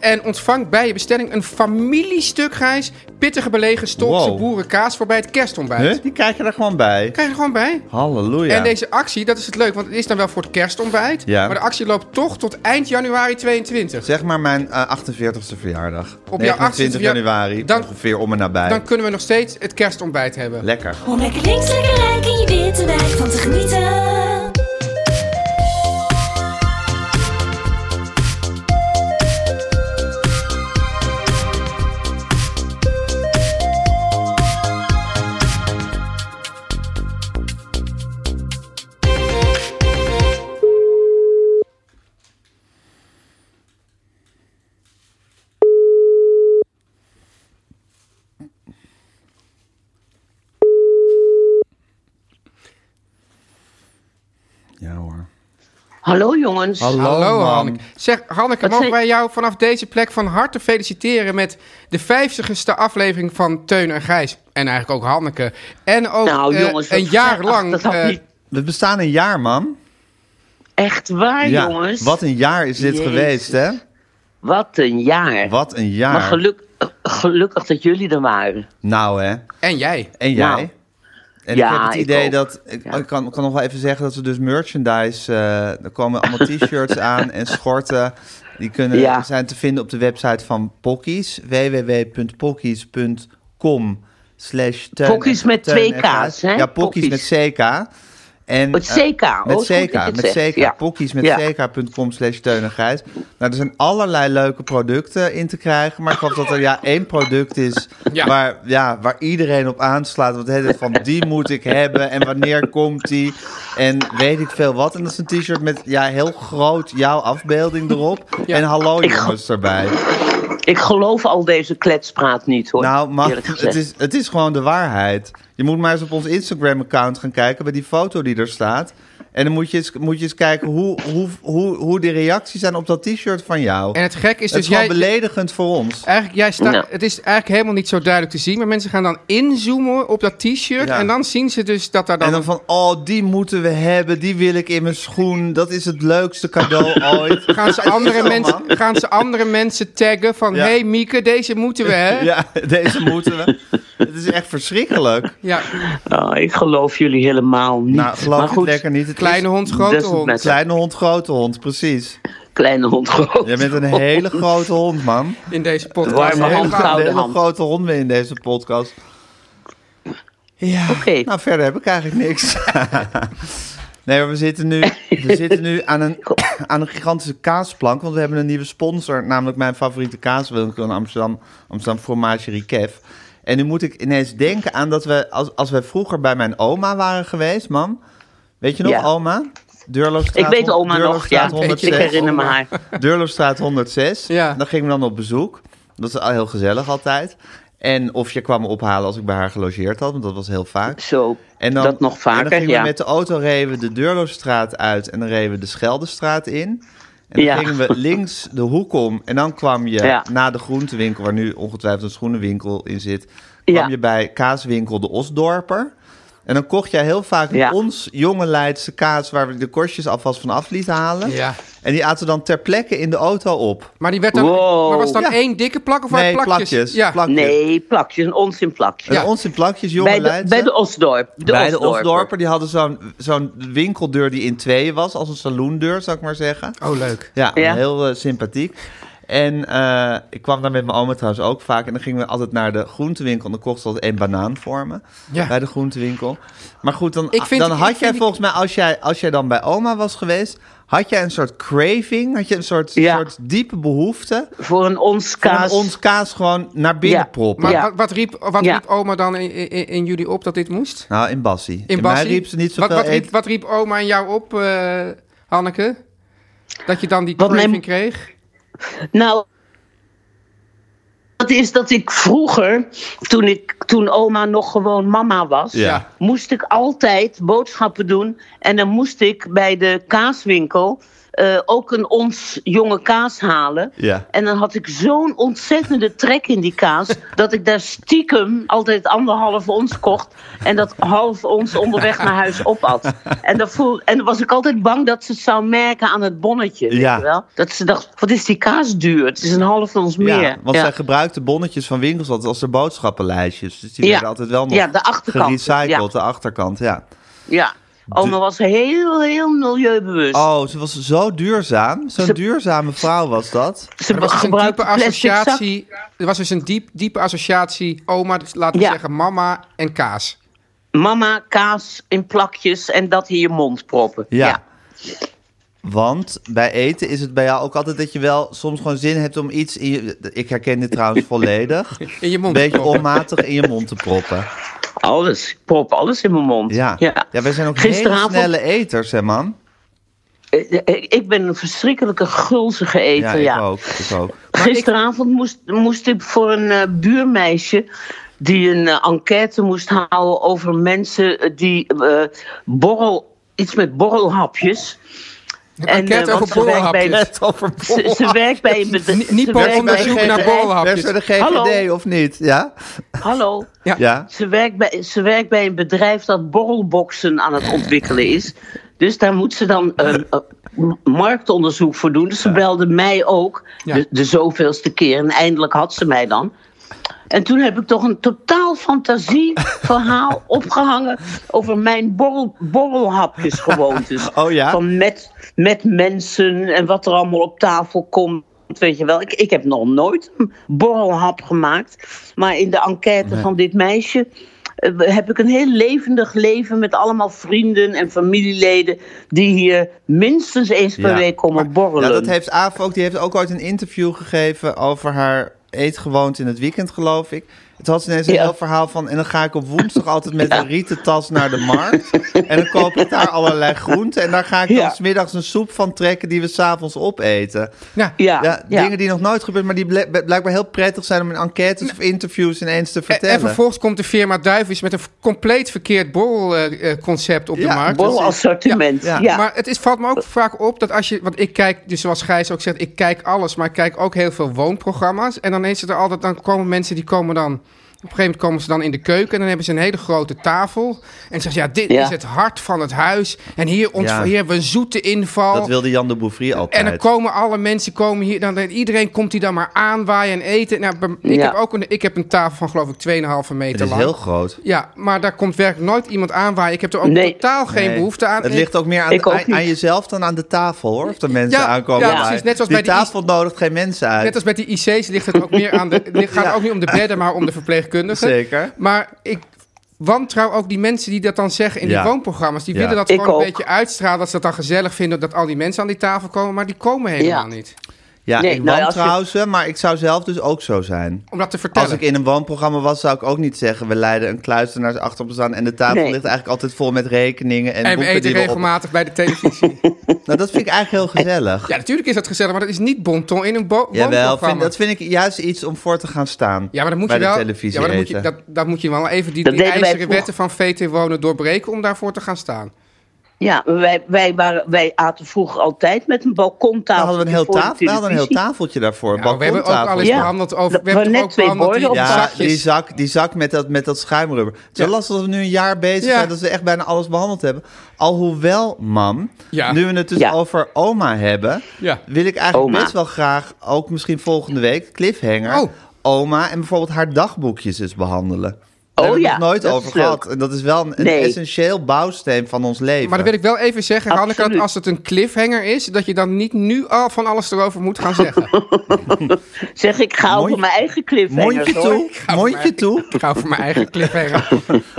En ontvang bij je bestelling een familiestuk Gijs. Pittige belegen stokse
Wow.
boerenkaas voor bij het kerstontbijt.
Huh? Die krijg je er gewoon bij.
Krijg je er gewoon bij.
Halleluja.
En deze actie, dat is het leuk, want het is dan wel voor het kerstontbijt.
Ja.
Maar de actie loopt toch tot eind januari 22.
Zeg maar mijn eh, 48e verjaardag.
Op jouw
29
28e
januari,
Dan-
ongeveer om en nabij.
Dan kunnen we nog steeds het kerstontbijt hebben.
Lekker.
Om lekker links, lekker rijk in je witte wijk van te genieten.
Ja hoor.
Hallo jongens.
Hallo
mam.
Hanneke. Zeg Hanneke,
Wat
mogen
zei-
wij jou vanaf deze plek van harte feliciteren met de 50ste aflevering van Teun en Gijs. En eigenlijk ook Hanneke. En ook
nou
eh,
jongens, dat
een jaar
gaat-
lang.
[laughs] Dat had
eh,
niet
We bestaan een jaar, man.
echt waar
Ja,
jongens.
Wat een jaar is dit
Jezus.
geweest, hè?
Wat een jaar.
Wat een jaar.
Maar geluk, eh, gelukkig dat jullie er waren.
Nou, hè.
En jij.
En jij?
Nou.
En
Ja,
ik heb het
ik
idee
ook.
dat... Oh, Ik,
Ja.
ik kan, kan nog wel even zeggen dat we dus merchandise... eh, er komen
[laughs]
allemaal t-shirts aan en schorten. Die kunnen,
Ja.
zijn te vinden op de website van Pockies. www.pockies.com slash Teun-
Pockies met
Teun
twee
en Gijs.
K's, hè?
Ja, Pockies met
Pockies.
CK. En,
Met
eh,
CK, oh,
met
is goed
CK,
dat je het
met
zegt,
CK.
ja.
Pockies met
Ja.
ck.com slash Teun en Gijs. Nou, er zijn allerlei leuke producten in te krijgen. Maar ik hoop dat er ja, één product is
Ja.
Waar, ja, waar iedereen op aanslaat. Want het is van die moet ik hebben en wanneer komt die en weet ik veel wat. En dat is een t-shirt met ja, heel groot jouw afbeelding erop. En hallo
Ik-
jongens erbij.
Ik geloof al deze kletspraat niet hoor.
Nou, maar
eerlijk
het
gezegd.
is, het is gewoon de waarheid. Je moet maar eens op ons Instagram-account gaan kijken bij die foto die er staat. En dan moet je eens, moet je eens kijken hoe, hoe, hoe, hoe de reacties zijn op dat t-shirt van jou.
En het gek
het is
is dus
gewoon
jij.
beledigend voor ons.
Eigenlijk, jij staat.
Nou.
Het is eigenlijk helemaal niet zo duidelijk te zien. Maar mensen gaan dan inzoomen op dat t-shirt.
Ja.
En dan zien ze dus dat daar dan.
En dan van, oh, die moeten we hebben, die wil ik in mijn schoen. Dat is het leukste
[laughs]
cadeau ooit.
Gaan
[laughs]
ze, andere
Zo,
mensen,
man.
gaan ze andere mensen taggen van...
Ja.
hey, Mieke, deze moeten we, hè? Ja.
Ja, deze moeten we. Het is echt verschrikkelijk.
Oh, ik geloof jullie helemaal niet.
Nou, geloof
maar
het
goed,
lekker niet. Het
Kleine
is
hond,
Dus dat
grote
is het
hond.
met-
Kleine hond, grote hond, precies.
kleine hond groot.
Jij bent een hele grote hond, man.
in deze podcast.
Warme
Heel
hand,
Een
gaaf.
gouden
hele
hand.
grote hond weer in deze podcast.
Oké,
Nou, verder heb ik eigenlijk niks. [laughs] Nee, maar we zitten nu, we
[laughs]
zitten nu aan, een, aan een gigantische kaasplank. Want we hebben een nieuwe sponsor, namelijk mijn favoriete kaaswinkel in Amsterdam, Amsterdam Fromagerie Kev. En nu moet ik ineens denken aan dat we, als, als we vroeger bij mijn oma waren geweest, mam. Weet je nog,
Ja.
oma? Deurloofstraat
ik weet
hon-
oma nog. Ja,
Deurloofstraat
ik
106.
herinner me haar.
Deurloofstraat 106.
Ja.
Dan gingen we dan op bezoek. Dat is al heel gezellig altijd. En of je kwam me ophalen als ik bij haar gelogeerd had, want dat was heel vaak.
Zo,
En dan,
dat nog
en dan
vaker,
gingen
ja.
we met de auto reden we de Deurloosstraat uit en dan reden we de Scheldestraat in. En dan
Ja.
gingen
[laughs]
we links de hoek om en dan kwam je
Ja.
na de groentewinkel, waar nu ongetwijfeld een schoenenwinkel in zit, kwam
Ja.
je bij kaaswinkel de Osdorper. En dan kocht jij heel vaak
Ja.
ons jonge Leidse kaas, waar we de korstjes alvast van af lieten halen.
Ja.
En die aten we dan ter plekke in de auto op.
Maar die werd dan...
Wow.
Maar was dan
Ja.
één dikke plak of waren
nee,
het plakjes?
plakjes.
Ja.
plakjes.
Nee, plakjes, een onzin plakjes.
En
Ja.
ons in plakjes, jonge
Bij de,
Leidse.
bij de Osdorp. De
bij de
Osdorper.
Osdorper, die hadden zo'n zo'n winkeldeur die in tweeën was, als een saloondeur, zou ik maar zeggen.
Oh, leuk.
Ja,
Ja.
heel eh, sympathiek. En eh, ik kwam daar met mijn oma trouwens ook vaak. En dan gingen we altijd naar de groentewinkel. En dan kocht ze altijd één banaan voor me.
Ja.
Bij de groentewinkel. Maar goed, dan,
Ik vind-
dan
ik
had
vind
jij
die-
volgens mij, als jij, als jij dan bij oma was geweest... had jij een soort craving, had je een soort,
Ja.
soort diepe behoefte...
Voor een ons
van
kaas.
ons kaas gewoon naar binnen
Ja.
proppen.
Maar
Ja.
wat, wat riep, wat
Ja.
riep oma dan in, in, in jullie op dat dit moest?
Nou, in Bassie.
In
mij
Bassie?
riep ze niet
wat,
zoveel
wat, riep,
eten.
wat riep oma en jou op, eh, Hanneke? Dat je dan die
Wat mijn-
craving kreeg?
Nou, dat is dat ik vroeger, toen, ik, toen oma nog gewoon mama was,
Ja.
moest ik altijd boodschappen doen. En dan moest ik bij de kaaswinkel. eh, eh, ook een ons jonge kaas halen.
Ja.
En dan had ik zo'n ontzettende trek in die kaas. [laughs] dat ik daar stiekem altijd anderhalf ons kocht. en dat half ons onderweg naar huis opat. En dan, voel, en dan was ik altijd bang dat ze het zou merken aan het bonnetje. weet
Ja.
je wel? Dat ze dacht: wat is die kaas duur? Het is een half ons meer.
Ja, want
Ja.
zij gebruikten bonnetjes van winkels altijd als de boodschappenlijstjes. Dus die
Ja.
werden altijd wel nog
Ja, de achterkant,
gerecycled,
ja.
de achterkant, ja.
Ja. Oma was heel, heel milieubewust.
Oh, ze was zo duurzaam. Zo'n
Ze-
duurzame vrouw was dat.
ze
Er was dus een
gebruikte
diepe
plastic zak.
associatie. Er was dus een diep, diepe associatie. Oma, dus laten we
Ja.
zeggen, mama en kaas.
Mama, kaas in plakjes en dat in je mond proppen.
Ja. Want bij eten is het bij jou ook altijd dat je wel soms gewoon zin hebt om iets... In je, ik herken dit trouwens
[laughs]
volledig.
In je
Een
mond.
beetje
gestopt.
onmatig in je mond te proppen.
Alles. Ik prop alles in mijn mond.
Ja, ja. wij zijn ook hele
Gisteravond-
snelle eters, hè man?
Eh, eh, Ik ben een verschrikkelijke gulzige
Ja,
eter,
ik
ja.
ook. Ik ook.
Gisteravond moest, moest ik voor een eh, buurmeisje die een eh, enquête moest houden over mensen eh, die eh, borrel, iets met borrelhapjes.
Een
En,
enquête
eh, want
over
ze werkt bij-
borrelhapjes.
over
Ze, ze werkt
[laughs]
bij een bedrijf.
Niet- niet
ze
per
werkt bij
onderzoek
een
naar
bedrijf-
borrelhapjes.
Werd er de GGD
Hallo?
of niet? Ja?
Hallo.
Ja?
Ze werkt, bij, ze werkt bij een bedrijf dat borrelboxen aan het ontwikkelen is. Dus daar moet ze dan eh, eh, marktonderzoek voor doen. Dus ze belde mij ook,
Ja.
de, de zoveelste keer. En eindelijk had ze mij dan. En toen heb ik toch een totaal
[laughs]
fantasieverhaal opgehangen over mijn borrel, borrelhapjesgewoontes.
Oh ja?
Van met, met mensen en wat er allemaal op tafel komt. Weet je wel, ik, ik heb nog nooit een borrelhap gemaakt. Maar in de enquête van dit meisje eh, heb ik een heel levendig leven met allemaal vrienden en familieleden die hier minstens eens per
Ja.
week komen borrelen.
Ja, dat heeft Aaf ook. Die heeft ook ooit een interview gegeven over haar eetgewoonte in het weekend, geloof ik. Het had ze ineens een
Ja.
heel verhaal van... en dan ga ik op woensdag altijd met een rieten tas naar de markt... en dan koop ik daar allerlei groenten... en daar ga ik dan
Ja.
smiddags een soep van trekken... die we s'avonds opeten.
Ja.
ja,
Ja,
ja.
dingen die nog nooit gebeurd... maar die bl- blijkbaar heel prettig zijn om in enquêtes of interviews... ineens te
En,
vertellen.
en vervolgens komt de firma Duivis met een v- compleet verkeerd borrelconcept op
Ja,
de markt.
borrelassortiment.
Ja,
Ja,
ja.
Maar het is, valt me ook vaak op dat als je... Want ik kijk, dus zoals Gijs ook zegt, ik kijk alles. Maar ik kijk ook heel veel woonprogramma's. En dan is het er altijd... Dan komen mensen die komen dan... Op een gegeven moment komen ze dan in de keuken en dan hebben ze een hele grote tafel. En zeggen ze, ja, dit
Ja.
is het hart van het huis. En hier, ontv-
Ja.
hier hebben we een zoete inval.
Dat wilde Jan de Bouffry altijd.
En dan komen alle mensen komen hier. Dan, dan- iedereen komt hier dan maar aanwaaien en eten. Nou, bij- ik,
Ja.
heb ook een, ik heb een tafel van geloof ik 2,5 meter
Het is
lang.
heel groot.
Ja, maar daar komt werkelijk nooit iemand aanwaaien. Ik heb er ook
Nee.
totaal geen
Nee.
behoefte aan.
Het
En-
ligt ook meer aan,
Ik ook
aan,
niet.
aan jezelf dan aan de tafel, hoor. Of de mensen
Ja,
aankomen.
ja,
bij.
precies. Net zoals
die
bij die
tafel nodigt geen mensen uit.
Net als met die IC's ligt het ook meer aan de.
[laughs]
Het gaat
Ja.
ook niet om de bedden, maar om de verpleegkundigen.
Zeker.
Maar ik wantrouw ook die mensen die dat dan zeggen in
Ja.
die woonprogramma's. Die
Ja.
willen dat
Ik
gewoon een
ook.
beetje uitstralen. Dat ze dat dan gezellig vinden dat al die mensen aan die tafel komen. Maar die komen helemaal
Ja.
niet.
Ja,
Nee,
ik
nou ja, als je-
wantrouw ze, maar ik zou zelf dus ook zo zijn.
Om dat te vertellen.
Als ik in een woonprogramma was, zou ik ook niet zeggen... we leiden een kluisternaars achter op staan... en de tafel
Nee.
ligt eigenlijk altijd vol met rekeningen en,
en we
boeken
eten
die we op-
regelmatig bij de
[laughs]
televisie.
Nou, dat vind ik eigenlijk heel gezellig.
ja, natuurlijk is dat gezellig, maar dat is niet bonton in een bo-
Jawel,
woonprogramma.
vind, dat vind ik juist iets om voor te gaan staan.
ja, maar dan moet
bij
je wel.
de televisie
ja, maar dan moet
eten.
je, dat, dat moet je wel even die,
Dat
die
deden wij
ijzeren wetten van VT wonen doorbreken om daarvoor te gaan staan.
Ja, wij, wij, waren, wij aten vroeger altijd met een
Dan
balkontafel.
hadden we een heel,
voor de
tafel, we hadden een heel
televisie.
tafeltje daarvoor.
Nou, we hebben ook al eens
balkontafeltje.
Ja.
behandeld over.
Dat
We hebben toch
waren net
ook
twee
behandeld die
borden op
Ja,
zakjes.
die zak, die zak met, dat, met dat schuimrubber. Het is wel
Ja.
lastig dat we nu een jaar bezig
Ja.
zijn... dat we echt bijna alles behandeld hebben. Alhoewel, mam,
Ja.
nu we het dus
Ja.
over oma hebben...
Ja.
wil ik eigenlijk
Oma.
best wel graag... ook misschien volgende week, cliffhanger...
Oh.
oma en bijvoorbeeld haar dagboekjes eens behandelen. Daar
Oh
hebben we
ja,
het nooit
dat
over
is leuk.
gehad. En dat is wel een, een
Nee.
essentieel bouwsteen van ons leven.
Maar dan wil ik wel even zeggen, Hanneke, dat
Absoluut.
als het een cliffhanger is, dat je dan niet nu al van alles erover moet gaan
[laughs]
zeggen.
Zeg, ik ga
Mondje-
over mijn eigen cliffhangers
Mondje
hoor.
toe, mondje toe.
Ik ga voor mijn eigen cliffhanger.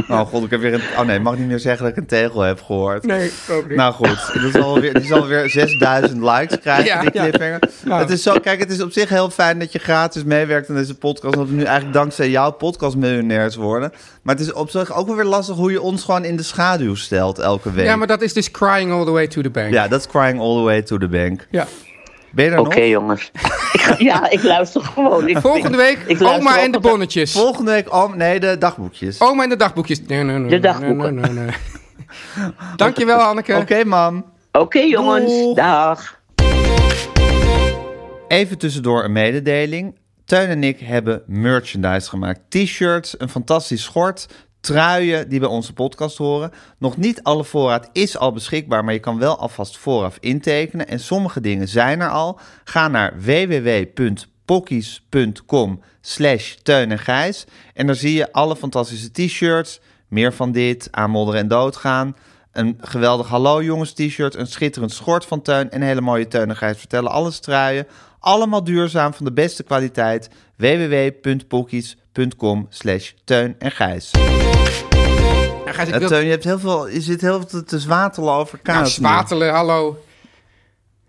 Oh god, ik heb weer een... Oh nee, ik mag niet meer zeggen dat ik een tegel heb gehoord.
Nee, ook niet.
Nou
[laughs]
goed, dat is alweer, die zal weer 6000 likes krijgen,
Ja,
die
ja.
cliffhanger.
Ja.
Het is zo, kijk, het is op zich heel fijn dat je gratis meewerkt aan deze podcast. Omdat we nu eigenlijk dankzij jou podcastmiljonairs worden. Maar het is op zich ook wel weer lastig hoe je ons gewoon in de schaduw stelt elke week.
Ja, maar dat is dus crying all the way to the bank.
Ja, dat is crying all the way to the bank.
Ja.
Ben je er
Oké
nog?
[laughs] jongens. Ik ga- ja, ik luister gewoon. Ik-
Volgende week,
ik luister
oma en de
altijd-
bonnetjes.
Volgende week, oh nee, de dagboekjes.
Oma en de dagboekjes. Nee, nee, nee,
De
nee,
dagboeken.
[laughs]
nee, nee, nee. Dankjewel, Hanneke.
Oké, mam.
Oké jongens,
Doeg.
dag.
Even tussendoor een mededeling. Teun en ik hebben merchandise gemaakt. T-shirts, een fantastisch schort, truien die bij onze podcast horen. Nog niet alle voorraad is al beschikbaar, maar je kan wel alvast vooraf intekenen. En sommige dingen zijn er al. Ga naar www.pokkies.com slash Teun en Gijs. En daar zie je alle fantastische t-shirts, meer van dit, aanmodderen en doodgaan... Een geweldig Hallo Jongens t-shirt, een schitterend schort van Teun en hele mooie teunigheid vertellen. Alles truien, allemaal duurzaam van de beste kwaliteit. www.pokkies.com slash Teun en Gijs.
Nou, Gijs, ik
Eh,
wil...
Teun, je, hebt heel veel, je zit heel veel te zwatelen over kaas.
Nou,
nu.
spatelen, hallo.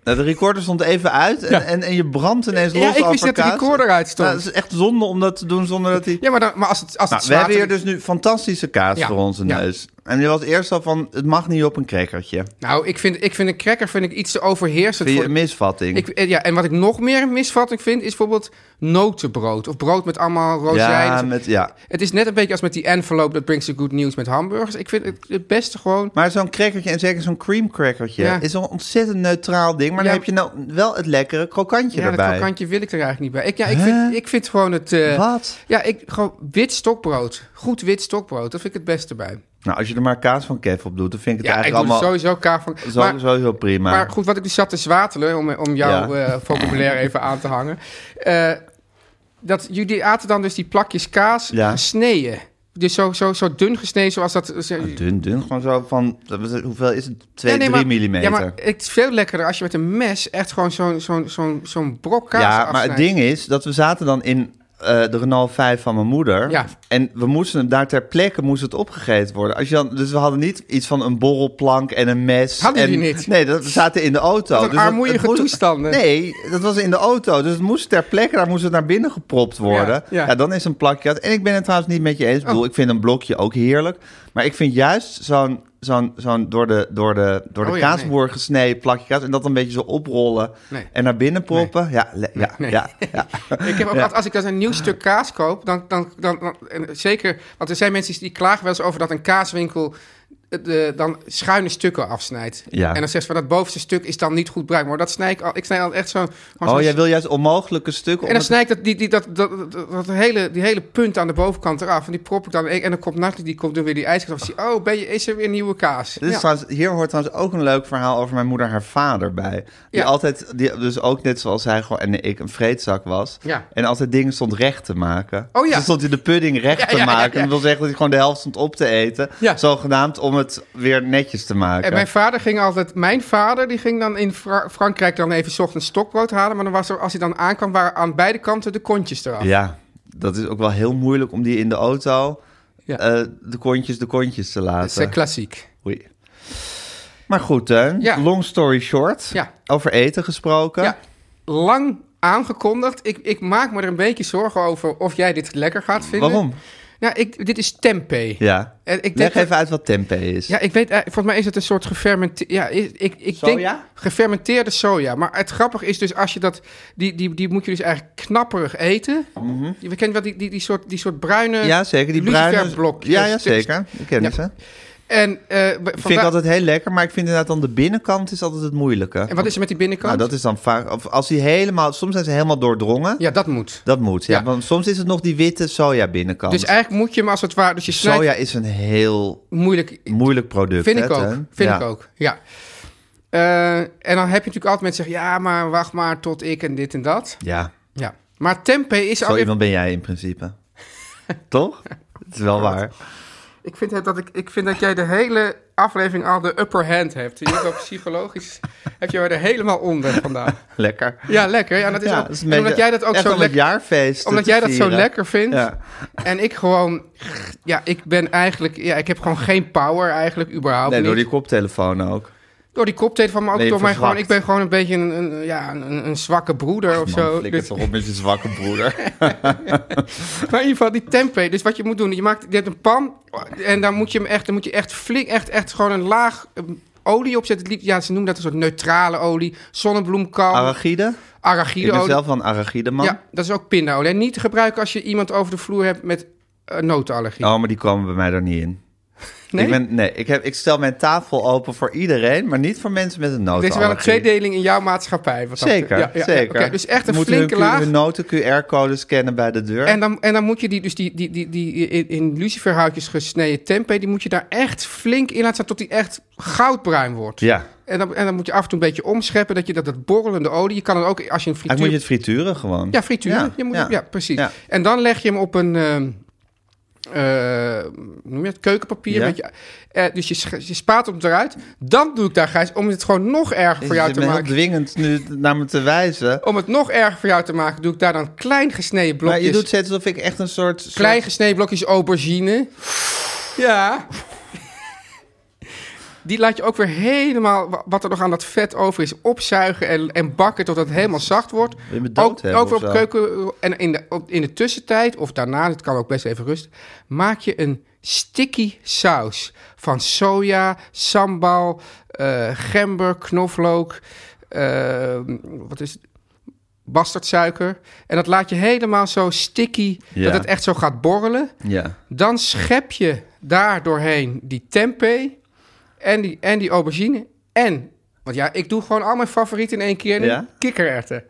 Nou, de recorder stond even uit en, en, en je brandt ineens
Ja,
los
ik wist
over
dat de
kaas.
recorder uit stond.
Nou, het is echt zonde om dat te doen zonder dat hij...
Ja, maar, dan, maar als het, als
Nou,
het
we hebben hier
zwatelen-
dus nu fantastische kaas
Ja,
voor onze
ja.
neus. En je was eerst al van, het mag niet op een crackertje.
Nou, ik vind, ik vind een cracker vind ik iets te overheersend.
dus- Vind je
voor-
een misvatting?
Ik, eh, ja, en wat ik nog meer een misvatting vind, is bijvoorbeeld notenbrood. Of brood met allemaal rozijnen.
ja, met, ja,
Het is net een beetje als met die envelope dat brings the good news met hamburgers. Ik vind het, het beste gewoon...
Maar zo'n crackertje, en zeker zo'n cream crackertje,
Ja.
is een ontzettend neutraal ding. Maar dan
Ja.
heb je nou wel het lekkere krokantje
Ja, dat
erbij.
krokantje wil ik er eigenlijk niet bij. Ik, ja, ik, vind, ik vind gewoon het... eh,
Wat?
Ja, ik, gewoon wit stokbrood. Goed wit stokbrood. Dat vind ik het beste bij.
Nou, als je er maar kaas van kef op doet, dan vind ik het
Ja, ik doe
eigenlijk allemaal
sowieso kaas van...
zo-
maar,
sowieso prima.
maar goed, wat ik dus zat te zwatelen, om, om jouw
Ja.
eh,
[laughs]
vocabulaire even aan te hangen. eh, dat jullie aten dan dus die plakjes kaas
Ja.
gesneden. Dus zo, zo, zo dun gesneden zoals dat...
Dun, dun, gewoon zo van, hoeveel is het? 2,
Ja, nee,
3
maar-
millimeter.
Ja, maar het is veel lekkerder als je met een mes echt gewoon zo'n zo'n zo'n zo'n brok kaas
Ja, maar het
afsnijdt.
ding is dat we zaten dan in eh, de Renault 5 van mijn moeder.
Ja.
En we moesten hem daar ter plekke moest het opgegeten worden. Als je dan, dus we hadden niet iets van een borrelplank en een mes.
Hadden
en,
jullie niet?
Nee, dat, we zaten in de auto. Dus
Wat een
dat-
armoeige
moest-
toestanden.
Nee, dat was in de auto. Dus het moest ter plekke, daar moest het naar binnen gepropt worden.
Ja, Oh. ja.
dan is een plakje. uit. En ik ben het trouwens niet met je eens. Ik bedoel, ik vind een blokje ook heerlijk. Maar ik vind juist zo'n zo'n zo'n door de, door de, door de
Oh ja, nee.
kaasboer gesneden plakje kaas. En dat een beetje zo oprollen
Nee.
en naar binnen proppen. Ja, le- ja,
Nee. [laughs]
ja, ja.
Ik heb ook
Ja.
altijd, als ik dan een nieuw stuk kaas koop, dan, dan, dan, dan- en zeker, want er zijn mensen die klagen wel eens over dat een kaaswinkel eh, de, dan schuine stukken afsnijdt.
Ja.
En dan zegt ze van dat bovenste stuk is dan niet goed bruikbaar. Maar dat snij ik al, ik snij al echt zo'n.
Oh,
gewoon zo'n-
jij wil juist onmogelijke stukken.
En dan
omdat-
snij ik dat, die, die, dat, dat, dat, dat hele, die hele punt aan de bovenkant eraf. En die prop ik dan. En dan komt Nathalie, die komt dan weer die ijskast af. Zie, Oh, ben je, is er weer nieuwe kaas?
Dit is
Ja.
trouwens- hier hoort trouwens ook een leuk verhaal over mijn moeder, haar vader bij. Die
Ja.
altijd, die, dus ook net zoals hij gewoon en ik een vreedzak was.
Ja.
En altijd dingen stond recht te maken.
Oh ja.
Dus dan stond hij de pudding recht
Ja,
te
ja, ja,
maken.
ja.
Dat wil zeggen dat hij gewoon de helft stond op te eten.
Ja.
Zogenaamd om het weer netjes te maken.
En mijn vader ging altijd, mijn vader die ging dan in Fra- Frankrijk dan even 's ochtends stokbrood halen. Maar dan was er, als hij dan aankwam, waren aan beide kanten de kontjes eraf.
Ja, dat is ook wel heel moeilijk om die in de auto
Ja.
eh, de kontjes de kontjes te
dat is eh,
laten.
klassiek.
Oei. Maar goed, Teun.
Ja.
Long story short.
Ja.
Over eten gesproken.
Ja, lang aangekondigd. Ik, ik maak me er een beetje zorgen over of jij dit lekker gaat vinden.
Waarom?
Nou, ik, dit is tempeh.
Ja.
En ik denk
Leg
dat-
even uit wat tempeh is.
Ja, ik weet, eh, volgens mij is het een soort gefermenteerde... Ja, ik, ik, ik denk
Soja?
gefermenteerde soja. Maar het grappige is dus als je dat... Die, die, die moet je dus eigenlijk knapperig eten. Je- We kennen wel die, die, die, soort, die soort bruine...
Mhm. Ja, zeker. Die bruine...
luciferblokjes.
Ja, ja, zeker. Ik ken
Ja.
ze.
En, eh, we-
Ik vind
vandaar-
ik altijd heel lekker, maar ik vind inderdaad dan de binnenkant is altijd het moeilijke.
en wat is er met die binnenkant?
Nou, dat is dan vaak... Of als die helemaal... Soms zijn ze helemaal doordrongen.
Ja, dat moet.
Dat moet, ja.
Ja.
Want soms is het nog die witte soja binnenkant.
Dus eigenlijk moet je hem als het ware... Dus je snijdt
Soja is een heel
moeilijk...
moeilijk product.
Vind
hè,
ik ook.
Teun?
Vind
Ja.
ik ook, ja. Eh, en dan heb je natuurlijk altijd mensen zeggen... Ja, maar wacht maar tot ik en dit en dat.
Ja,
Ja. Maar tempeh is
zo
alweer...
iemand ben jij in
[laughs]
principe. Toch? Het is wel waar.
Ik vind, het dat ik, ik vind dat jij de hele aflevering al de upper hand hebt. Je hebt ook
[laughs]
psychologisch... heb je er helemaal onder vandaag.
Lekker.
Ja, lekker. Ja, dat is ook-
dat is een
en
beetje-
omdat jij dat ook
echt
zo
om het
lekker...
jaarfeest
Omdat
te
jij dat zo
vieren.
lekker vindt.
Ja.
En ik gewoon... Ja, ik ben eigenlijk... Ja, ik heb gewoon geen power eigenlijk, überhaupt
Nee,
niet.
door die koptelefoon ook.
Door die koptelefoon, maar ook
Ben je
door mij gewoon...
verzwakt?
Ik ben gewoon een beetje een, een- ja, een, een zwakke broeder of
Man,
zo.
flikker
Dus- Oh.
toch op met je zwakke broeder.
[laughs] maar in ieder geval, die tempeh. Dus wat je moet doen, je, maakt, je hebt een pan en dan moet je hem echt, dan moet je echt flink, echt, echt gewoon een laag eh, olie opzetten. Het liefst- Ja, ze noemen dat een soort neutrale olie. Zonnebloemkalm,
Arachide? Ik ben
arachideolie.
zelf wel een arachide man.
Ja, dat is ook pindaolie. En niet te gebruiken als je iemand over de vloer hebt met eh, notenallergie.
Oh, maar die komen bij mij er niet in.
[laughs] Nee?
Ik, ben, nee ik, heb, ik stel mijn tafel open voor iedereen, maar niet voor mensen met een
Dit is wel een
notenallergie.
tweedeling in jouw maatschappij. wat dat
Zeker,
betreft. Ja, ja, ja.
zeker.
Oké, dus echt een
Moeten
flinke
hun,
laag.
Hun noten QR-code scannen bij de deur. Ah,
En dan, en dan moet je die, dus die, die, die, die in, in luciferhoutjes gesneden tempeh... die moet je daar echt flink in laten staan tot die echt goudbruin wordt.
ja,
En, dan, en dan moet je af en toe een beetje omscheppen... dat je dat, dat borrelende olie... je kan dan ook als je een
eigenlijk moet
frituur...
je het frituren gewoon.
Ja, frituur. Ja, je moet, ja. precies.
Ja.
En dan leg je hem op een... ehm, eh, hoe noem je het? Keukenpapier.
Ja.
Weet je, Eh, dus je, sch- je spaat hem eruit. Dan doe ik daar, Gijs, om het gewoon nog erger voor
Je
jou
zit
te
me heel
maken.
dwingend nu naar me te wijzen.
Om het nog erger voor jou te maken, doe ik daar dan klein gesneden
Maar
blokjes.
je doet het alsof ik echt een soort... soort-
Klein gesneden blokjes aubergine. Ja. Die laat je ook weer helemaal, wa- wat er nog aan dat vet over is, opzuigen en, en bakken tot het helemaal zacht wordt.
Wil je me dood
Ook,
hebben
ook weer op
of zo?
keuken. En in de, op- in de tussentijd, of daarna, dit kan ook best even rusten, maak je een sticky saus van soja, sambal, eh, gember, knoflook, eh, wat is het? Bastardsuiker. En dat laat je helemaal zo sticky,
Ja.
dat het echt zo gaat borrelen.
Ja.
Dan schep je daar doorheen die tempeh en die, en die aubergine. En, want ja, ik doe gewoon al mijn favorieten in één keer.
Ja?
Ja? Kikkererwten.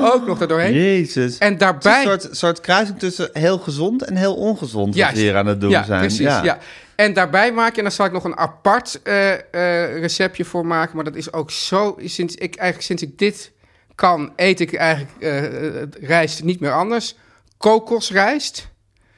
Ook nog daar doorheen.
Jezus.
En
Het is
daarbij...
een soort, soort kruising tussen heel gezond en heel ongezond wat we
Juist.
hier aan het doen
ja,
zijn.
Precies, ja. En daarbij maak je, en daar zal ik nog een apart eh, eh, receptje voor maken. Maar dat is ook zo. Sinds ik, eigenlijk, sinds ik dit kan, eet ik eigenlijk eh, eh, rijst niet meer anders. Kokosrijst.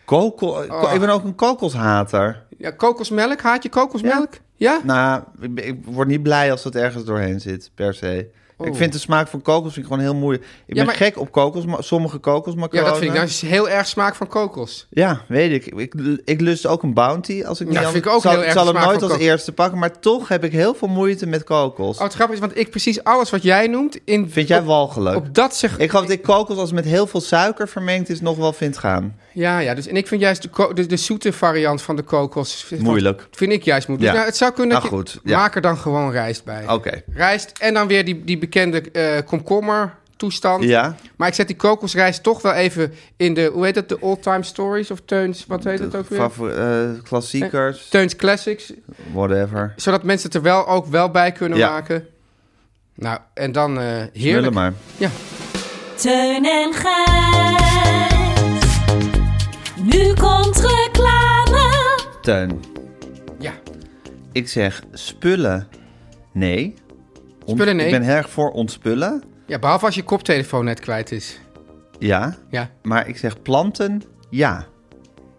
Kokos,
Oh.
Ik ben ook een kokoshater.
Ja, kokosmelk. Haat je kokosmelk? Ja?
Nou, ik, ben- ik word niet blij als dat ergens doorheen zit, per se. Ik
Oh.
vind de smaak van kokos vind ik gewoon heel moeilijk. Ik ben
maar-
gek op kokos, maar sommige kokosmacaronen.
ja, dat vind ik. Dat is heel erg smaak van kokos.
Ja, weet ik. ik. Ik lust ook een bounty. Als ik niet
dat
anders-
vind ik ook
zal,
heel erg
zal hem
smaak
nooit
van
als
kokos.
eerste pakken, maar toch heb ik heel veel moeite met kokos.
Oh, het grappige is, want ik precies alles wat jij noemt... In,
vind jij
op-
walgelijk?
Op dat zeg...
Ik geloof dat ik kokos als het met heel veel suiker vermengd is nog wel vind gaan.
Ja, ja. Dus, en ik vind juist de, ko- de, de zoete variant van de kokos... vind-
Moeilijk.
Vind ik juist moeilijk.
Ja.
Dus nou, het zou kunnen
Nou,
dat je-
goed, ja.
Maak er dan gewoon rijst bij.
Oké.
Rijst en dan weer die, die bekende eh komkommer toestand.
Ja.
Maar ik zet die kokosrijst toch wel even in de... Hoe heet dat? De all-time stories of Teuns... Wat heet dat ook weer?
Favor- eh, klassiekers,
Teuns Classics.
whatever.
Zodat mensen het er wel ook wel bij kunnen
Ja.
maken. Nou, en dan eh
Smullen
heerlijk.
maar.
Ja.
Teun en Gijs. Nu komt reclame.
Teun,
ja.
ik zeg spullen. Nee. Ont-
Spullen nee.
Ik ben heel erg voor ontspullen.
Ja, behalve als je koptelefoon net kwijt is.
Ja.
Ja.
Maar ik zeg planten. Ja.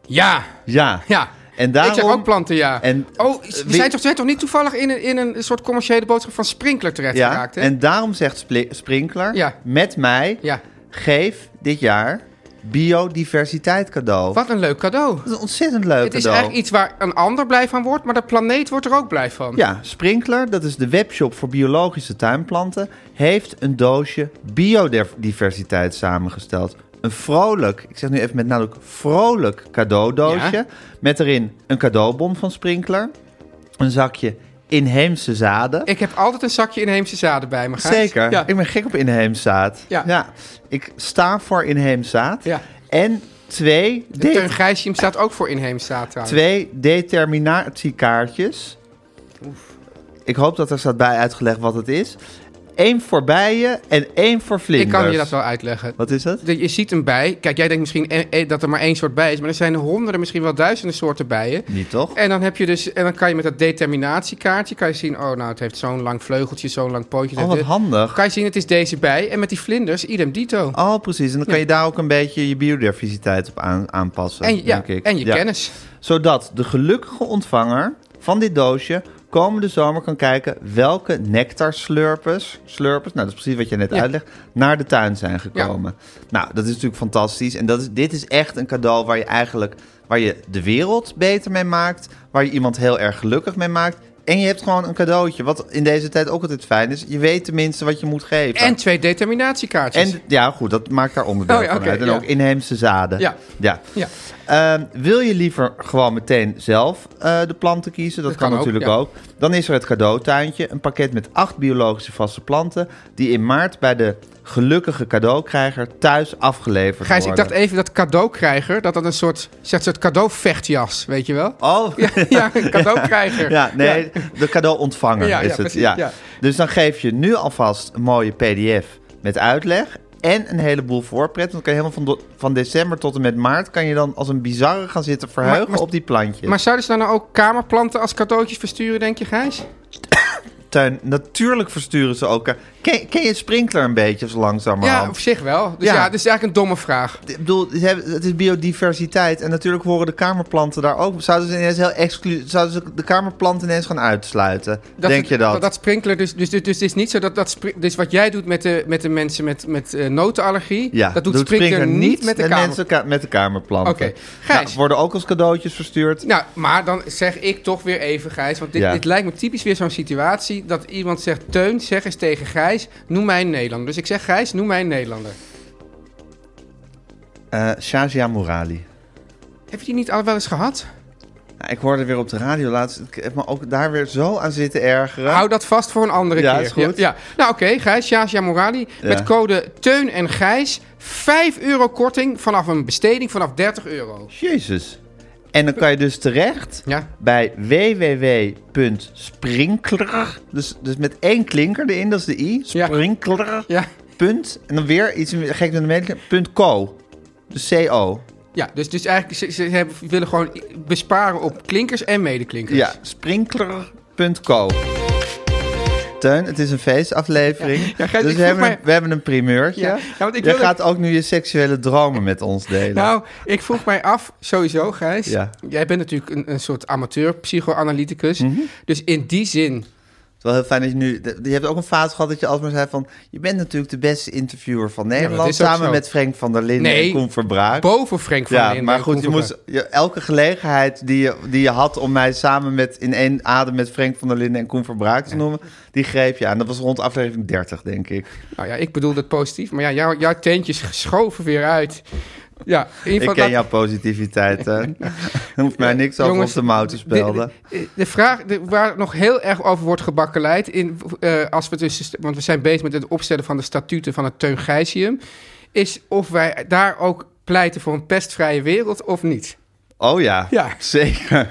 Ja.
Ja.
Ja.
En daarom...
Ik zeg ook planten, ja.
En-
oh, is- we
Wie-
zijn toch, zijn toch niet toevallig in een, in een soort commerciële boodschap van Sprinkler
Ja.
terechtgeraakt, hè?
En daarom zegt Spli- Sprinkler
Ja.
met mij...
Ja.
Geef dit jaar biodiversiteit cadeau.
Wat een leuk cadeau.
Dat is een ontzettend leuk
Het is
cadeau.
eigenlijk iets waar een ander blij van wordt, maar de planeet wordt er ook blij van.
Ja, Sprinkler, dat is de webshop voor biologische tuinplanten, heeft een doosje biodiversiteit samengesteld. Een vrolijk, ik zeg nu even met nadruk, vrolijk cadeaudoosje.
Ja.
Met erin een cadeaubon van Sprinkler, een zakje inheemse zaden.
Ik heb altijd een zakje inheemse zaden bij me. Gijs.
Zeker,
Ja.
ik ben gek op inheems zaad.
Ja.
Ik sta voor inheems zaad.
Ja.
En twee, de-
Teun Gijsjeem staat ook voor inheemse zaad trouwens.
Twee determinatiekaartjes. Ik hoop dat er staat bij uitgelegd wat het is. Eén voor bijen en één voor
Ik
vlinders.
kan je dat wel uitleggen.
Wat is dat?
Dat Je ziet een bij. Kijk, jij denkt misschien eh, eh, dat er maar één soort bij is. Maar er zijn honderden, misschien wel duizenden soorten bijen.
Niet toch?
En dan, heb je dus, en dan kan je met dat determinatiekaartje kan je zien... oh, nou, het heeft zo'n lang vleugeltje, zo'n lang pootje.
Oh,
dat-
wat
dat-
handig.
kan je zien, het is deze bij. En met die vlinders, idem dito.
Oh, precies. En dan kan je daar ook een beetje je biodiversiteit op aan, aanpassen,
en, ja,
denk ik.
en je
Ja.
kennis.
Zodat de gelukkige ontvanger van dit doosje komende zomer kan kijken welke nectarslurpers, slurpers, nou dat is precies wat je net
Ja.
uitlegt, naar de tuin zijn gekomen. Nou, dat is natuurlijk fantastisch. En dat is, dit is echt een cadeau waar je eigenlijk waar je de wereld beter mee maakt, waar je iemand heel erg gelukkig mee maakt. En je hebt gewoon een cadeautje, wat in deze tijd ook altijd fijn is. Je weet tenminste wat je moet geven.
En twee determinatiekaartjes.
En ja, goed, dat maakt daar onderdeel
Oh ja,
van
oké,
uit. En
ja.
ook inheemse zaden.
Ja.
ja.
Ja.
Ehm, wil je liever gewoon meteen zelf eh, de planten kiezen? Dat,
Dat
kan,
kan ook,
natuurlijk
ja.
ook. Dan is er het cadeautuintje. Een pakket met acht biologische vaste planten. Die in maart bij de gelukkige cadeaukrijger thuis afgeleverd
Gijs, ik
worden.
dacht e- even dat cadeaukrijger, dat dat een soort, zegt soort cadeauvechtjas, weet je wel?
Oh, [laughs]
Ja, [laughs] ja een cadeaukrijger.
Ja, nee, de cadeauontvanger
Ja,
is
ja,
het.
precies,
ja.
ja.
Dus dan geef je nu alvast een mooie pdf met uitleg en een heleboel voorpret. Dan kan je helemaal van, do- van december tot en met maart... kan je dan als een bizarre gaan zitten verheugen
Maar- maar-
op die plantjes.
Maar zouden ze dan nou ook kamerplanten als cadeautjes versturen, denk je, Gijs?
Tuin, natuurlijk versturen ze elkaar. Ken, ken je het sprinkler een beetje zo langzamerhand?
Ja, op zich wel. Dus
Ja.
ja, dit is eigenlijk een domme vraag.
Ik bedoel, ze hebben- het is biodiversiteit en natuurlijk horen de kamerplanten daar ook. Zouden ze, ineens heel exclu- zouden ze de kamerplanten ineens gaan uitsluiten? Denk
het-
je dat?
Dat sprinkelen, dus, dus, dus, dus het is niet zo dat, dat spri- dus wat jij doet met de, met de mensen met, met eh, notenallergie,
Ja,
dat doet, sprinkler, niet met de kamer.
mensen ka- met de kamerplanten.
Oké,
Nou,
Gijs.
worden ook als cadeautjes verstuurd.
Nou, maar dan zeg ik toch weer even, Gijs, want dit,
Ja.
dit lijkt me typisch weer zo'n situatie dat iemand zegt, Teun, zeg eens tegen Gijs, noem mij een Nederlander. Dus ik zeg, Gijs, noem mij een Nederlander.
Eh Shazia Mourali.
Heb je die niet al wel eens gehad?
Nou, ik hoorde weer op de radio laatst. Ik heb me ook daar weer zo aan zitten ergeren.
Hou dat vast voor een andere
Ja,
keer.
is goed.
Ja, ja. Nou oké, Gijs, Shazia Morali. Met code Teun en Gijs. 5 euro korting vanaf een besteding vanaf 30 euro.
Jezus. En dan kan je dus terecht
Ja.
bij www.sprinkler. Dus, dus met één klinker erin, dat is de i.
Ja.
Sprinkler.
Ja,
Punt. En dan weer iets gek met de mededeling. Punt co. Dus co.
ja dus, dus eigenlijk ze, ze hebben, willen gewoon i- besparen op klinkers en medeklinkers.
Ja, sprinkler.co. Teun, het is een feestaflevering.
Ja, Gijs,
dus
ik
we
vroeg
hebben,
mij-
een, we hebben een primeurtje.
Ja, ja, want ik
Jij
wil-
gaat ook nu je seksuele dromen met ons delen.
Nou, ik vroeg mij af, sowieso Gijs.
Ja.
Jij bent natuurlijk een, een soort amateur psychoanalyticus.
Mhm.
Dus in die zin,
Het is wel heel fijn dat je nu... de- Je hebt ook een fase gehad dat je alsmaar zei van... Je bent natuurlijk de beste interviewer van
dat
Nederland.
is ook
samen
zo.
met Frank van der Linden
Nee,
en Koen Verbraak.
boven Frank van
Ja,
Linden
maar
en
goed,
Koen
je
van
moest, je- elke gelegenheid die je, die je had om mij samen met in één adem met Frank van der Linden en Koen Verbraak te noemen, die greep je aan. Dat was rond aflevering 30, denk ik.
Braak. Nou ja, ik bedoel dat positief. Maar ja, jouw, jouw teentjes schoven weer uit. Ja, in ieder
Ik
geval...
ken
dat-
jouw positiviteit.
[laughs]
hè. [laughs] Er hoeft mij niks over op
Jongens,
de mouw te spelden.
De, de- de vraag de- waar nog heel erg over wordt gebakkeleid... In, eh, als we dus, want we zijn bezig met het opstellen van de statuten van het Teun Gijsium... is of wij daar ook pleiten voor een pestvrije wereld of niet.
Oh ja,
Ja. [laughs]
zeker.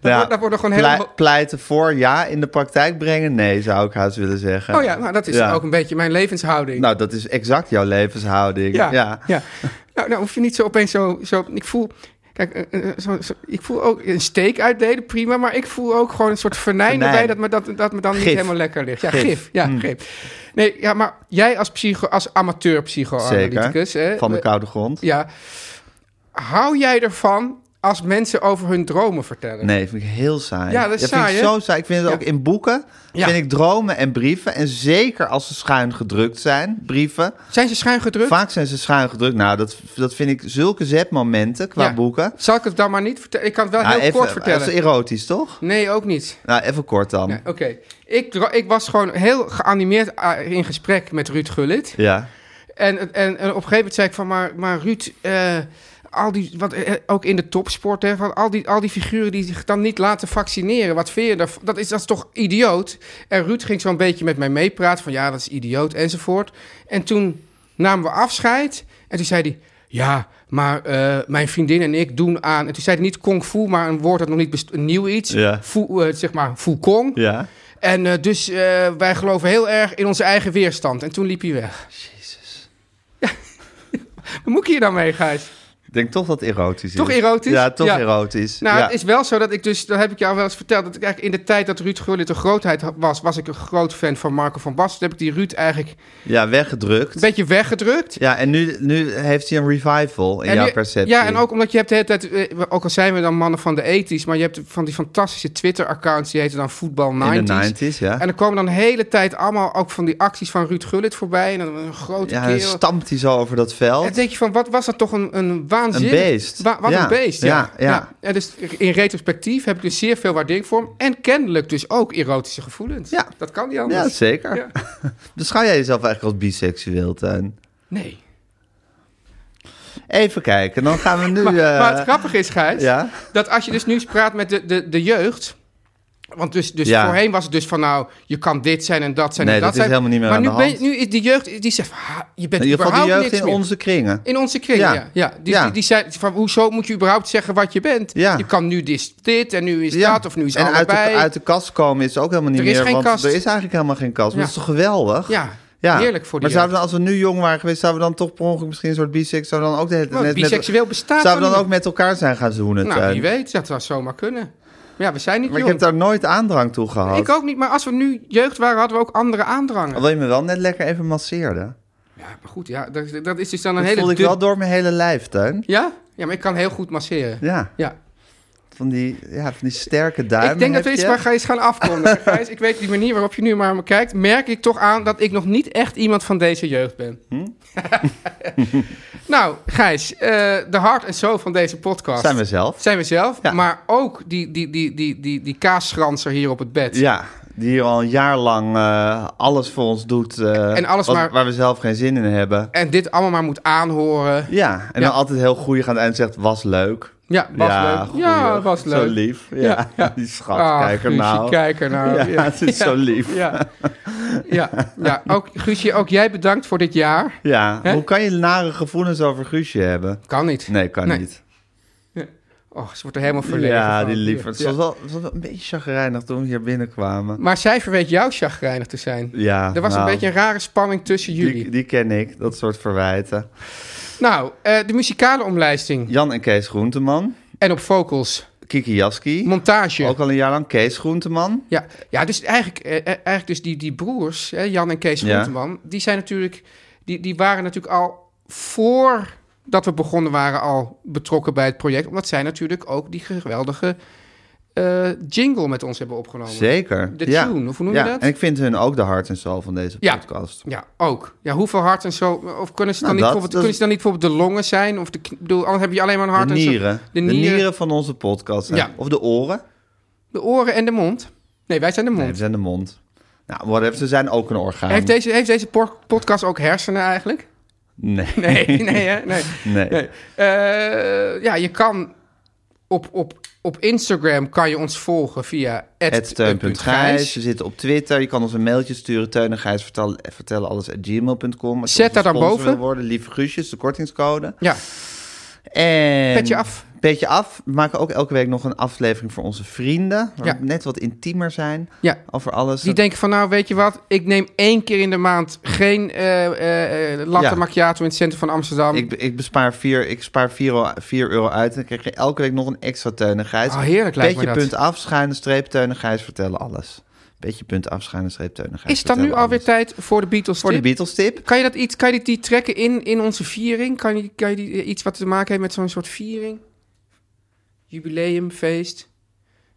wordt- dat wordt nog gewoon
Plei-
helemaal-
Pleiten voor ja, in de praktijk brengen? Nee, zou ik haast willen zeggen.
Oh ja, nou, dat is
Ja.
ook een beetje mijn levenshouding.
Nou, dat is exact jouw levenshouding.
ja,
ja.
ja. Nou, nou hoef je niet zo opeens zo... zo ik voel... Kijk, eh, eh, zo, zo- ik voel ook een steek uitdelen, prima. Maar ik voel ook gewoon een soort vernijn
Vernijn.
erbij dat me, dat, dat me dan
Gif.
niet helemaal lekker ligt. Ja,
Gif. Mm.
gif. Ja, gif. Nee, ja, maar jij als, psycho, als amateur psychoanalyticus...
Zeker.
hè,
Van de
eh,
koude grond.
Ja. Hou jij ervan als mensen over hun dromen vertellen?
Nee, vind ik heel saai.
Ja, dat is
vind
saai,
ik
hè?
zo saai. Ik vind het
Ja.
ook in boeken.
Ja.
Vind ik dromen en brieven. En zeker als ze schuin gedrukt zijn, brieven.
Zijn ze schuin gedrukt?
Vaak zijn ze schuin gedrukt. Nou, dat, dat vind ik zulke zetmomenten qua
Ja.
boeken.
Zal ik het dan maar niet vertellen? Ik kan het wel
Nou,
heel
even-
kort
Dat
vertellen.
is erotisch, toch?
Nee, ook niet.
Nou, even kort dan.
Ja,
Ja.
Oké, ik, dro- ik was gewoon heel geanimeerd ah, in gesprek met Ruud Gullit. En, en, en op een gegeven moment zei ik van, maar, maar Ruud, eh, al die, wat, eh, ook in de topsport, hè, van al, die, al die figuren die zich dan niet laten vaccineren, wat vind je daarvan? Dat is, dat is toch idioot? En Ruud ging zo'n beetje met mij meepraten van, ja, dat is idioot enzovoort. En toen namen we afscheid en toen zei hij, ja, maar eh, mijn vriendin en ik doen aan... En toen zei hij niet kung fu, maar een woord dat nog niet best- een nieuw iets.
Ja.
Fu, eh, zeg maar, fu kong.
Ja.
En eh, dus eh, wij geloven heel erg in onze eigen weerstand. En toen liep hij weg. Jezus. Ja. [laughs] Wat moet ik hier dan mee, Gijs?
Ik denk toch dat het erotisch is.
Toch erotisch?
Ja, toch
Ja.
erotisch.
Nou,
ja.
het is wel zo dat ik dus, dat heb ik jou wel eens verteld, dat ik eigenlijk in de tijd dat Ruud Gullit een grootheid ha- was, was ik een groot fan van Marco van Basten. Toen heb ik die Ruud eigenlijk
ja, weggedrukt.
een beetje weggedrukt.
Ja, en nu, nu heeft hij een revival in
En
jouw
nu-
perceptie.
Ja, en ook omdat je hebt de hele tijd, eh, ook al zijn we dan mannen van de ethisch, maar je hebt van die fantastische Twitter-accounts, die heten dan Voetbal 90s.
in de 90s, ja.
En er komen dan de hele tijd allemaal ook van die acties van Ruud Gullit voorbij. En dan een grote
ja, dan
kerel.
stampt hij zo over dat veld.
En dan denk je van, wat was dat toch een, een waanzinnig...
Een beest.
Wa- wat
Ja,
een beest, ja.
ja, ja.
En dus in retrospectief heb ik dus zeer veel waardering voor hem. En kennelijk dus ook erotische gevoelens.
Ja.
Dat kan niet
Ja,
anders.
zeker. [laughs]
Ja.
Beschouw jij jezelf eigenlijk als biseksueel, Tuin?
Nee.
Even kijken, dan gaan we nu...
Maar,
eh,
maar het grappige is, Gijs,
ja?
dat als je dus nu praat met de, de, de jeugd... Want dus, dus
Ja.
voorheen was het dus van nou, je kan dit zijn en dat zijn
Nee,
en dat,
dat is
zijn.
helemaal niet meer
maar
aan
nu
de
ben-
hand.
nu is die jeugd, die zegt van, ha, je bent
In ieder geval
überhaupt
de jeugd
niks
in
meer.
onze kringen.
In onze kring,
Ja.
ja. ja. Die,
Ja.
Die, die zei van, hoezo moet je überhaupt zeggen wat je bent?
Ja.
Je kan nu dit, dit en nu is dat of nu is
en uit de,
allebei.
uit de kast komen is ook helemaal niet
Er is
meer.
geen
want
kast.
er is eigenlijk helemaal geen kast. Maar
Ja.
dat is toch geweldig?
Ja,
Ja.
heerlijk voor die
Maar zouden we dan, als we nu jong waren geweest, zouden we dan toch per ongeluk misschien een soort biseksueel... Zouden we dan ook de hele
Nou,
net met-
biseksueel bestaat
Zouden we
toch
dan ook
niet?
met elkaar zijn gaan zoenen?
Nou,
Teun?
wie weet, dat zou zomaar kunnen. Maar ja, we zijn niet
Maar ik
jong.
heb daar nooit aandrang toe gehad.
Ik ook niet, maar als we nu jeugd waren, hadden we ook andere aandrangen.
Alhoewel je me wel net lekker even masseerde.
Ja, maar goed, ja, dat, dat is dus dan een
Dat
hele...
voelde ik
dun-
wel door mijn hele lijf, Teun.
Ja? Ja, maar ik kan heel goed masseren.
Ja,
Ja.
van die, ja, van die sterke duim.
Ik denk dat we
heb
iets
je.
maar eens gaan
[laughs]
afkondigen. Gijs, ik weet die manier waarop je nu maar me kijkt, merk ik toch aan dat ik nog niet echt iemand van deze jeugd ben.
Hm?
[laughs]
[laughs]
nou, Gijs, eh, de hart en zo van deze podcast
Zijn we zelf.
zijn we zelf,
Ja.
maar ook die, die, die, die, die, die kaasschranser hier op het bed.
Ja, die hier al een jaar lang eh, alles voor ons doet. eh,
En alles
wat-
maar-
Waar we zelf geen zin in hebben.
En dit allemaal maar moet aanhoren.
Ja, en
Ja.
dan altijd heel goeie gaan eind zegt, was leuk.
Ja, was leuk. Ja,
goeie.
was leuk.
Zo lief. Ja, [laughs]
Ja, ja.
die schat,
Ah,
kijk er
Guusje,
nou.
kijk er nou.
Ja, [laughs] het is zo lief.
Ja, ja, ja. Ook, Guusje, ook jij bedankt voor dit jaar.
Ja,
Hè?
hoe kan je nare gevoelens over Guusje hebben?
Kan niet.
Nee, kan
Nee.
niet.
Oh, ze wordt er helemaal verlegen
ja,
van.
die lieverd.
Ja.
Ze was, wel, ze was wel een beetje chagrijnig toen we hier binnenkwamen.
Maar zij verweet jou chagrijnig te zijn.
Ja,
er was
nou,
een beetje een rare spanning tussen jullie.
Die, die ken ik, dat soort verwijten.
Nou, eh, de muzikale omlijsting.
Jan en Kees Groenteman.
En op vocals.
Kiki Jaski.
Montage.
Ook al een jaar lang Kees Groenteman.
Ja. ja, dus eigenlijk, eh, eh, eigenlijk dus die, die broers, hè, Jan en Kees
Ja.
Groenteman... die zijn natuurlijk... Die, die waren natuurlijk al voor dat we begonnen waren al betrokken bij het project. Omdat zij natuurlijk ook die geweldige eh, jingle met ons hebben opgenomen.
Zeker.
De
ja.
tune, of hoe noem je
ja.
dat?
En ik vind hun ook de hart en zal van deze
Ja.
podcast.
Ja, ook. Ja, hoeveel hart en zo. Of kunnen ze
Nou,
dan, niet,
dat-
bijvoorbeeld,
dat-
kunnen ze dan niet bijvoorbeeld de longen zijn? Of de, knie- ik bedoel, anders heb je alleen maar een hart
de
en
nieren.
zo.
De nieren. van onze podcast. zijn.
Ja.
Of de oren.
De oren en de mond. Nee, wij zijn de mond.
Nee, ze zijn de mond. Nou, whatever. Ze zijn ook een orgaan.
heeft, deze, heeft deze por- podcast ook hersenen eigenlijk?
Nee.
[laughs]
[laughs]
Nee, nee, hè? Nee.
Nee.
Nee. Eh, ja, je kan op, op, op Instagram kan je ons volgen via
Teun.gijs.
@teun.gijs.
We zitten op Twitter. Je kan ons een mailtje sturen. Teun en Gijs vertellen, vertellen alles at gmail.com. Als je
Zet
onze
daar dan
sponsor
boven.
wil Worden, lieve Guusjes, de kortingscode.
Ja,
En
Petje af.
Petje af. We maken ook elke week nog een aflevering voor onze vrienden. Waar
Ja.
we net wat intiemer zijn
ja.
over alles.
Die denken van, nou weet je wat, ik neem één keer in de maand geen eh, eh, eh, latte
Ja.
macchiato in het centrum van Amsterdam.
ik, ik bespaar 4 ik spaar vier euro, vier euro uit en dan krijg je elke week nog een extra Teun en Gijs.
Oh, heerlijk lijkt me
Petje
dat.
punt af, schuine streep, Teun en Gijs vertellen alles. Petje punt af, schuine streep, Teun en Gijs
Is dat nu
vertellen
alweer
alles.
tijd voor de Beatles
Voor de
tip?
Beatles tip.
Kan je, dat iets, kan je die trekken in, in onze viering? Kan je, kan je die, eh, iets wat te maken heeft met zo'n soort viering? Jubileumfeest?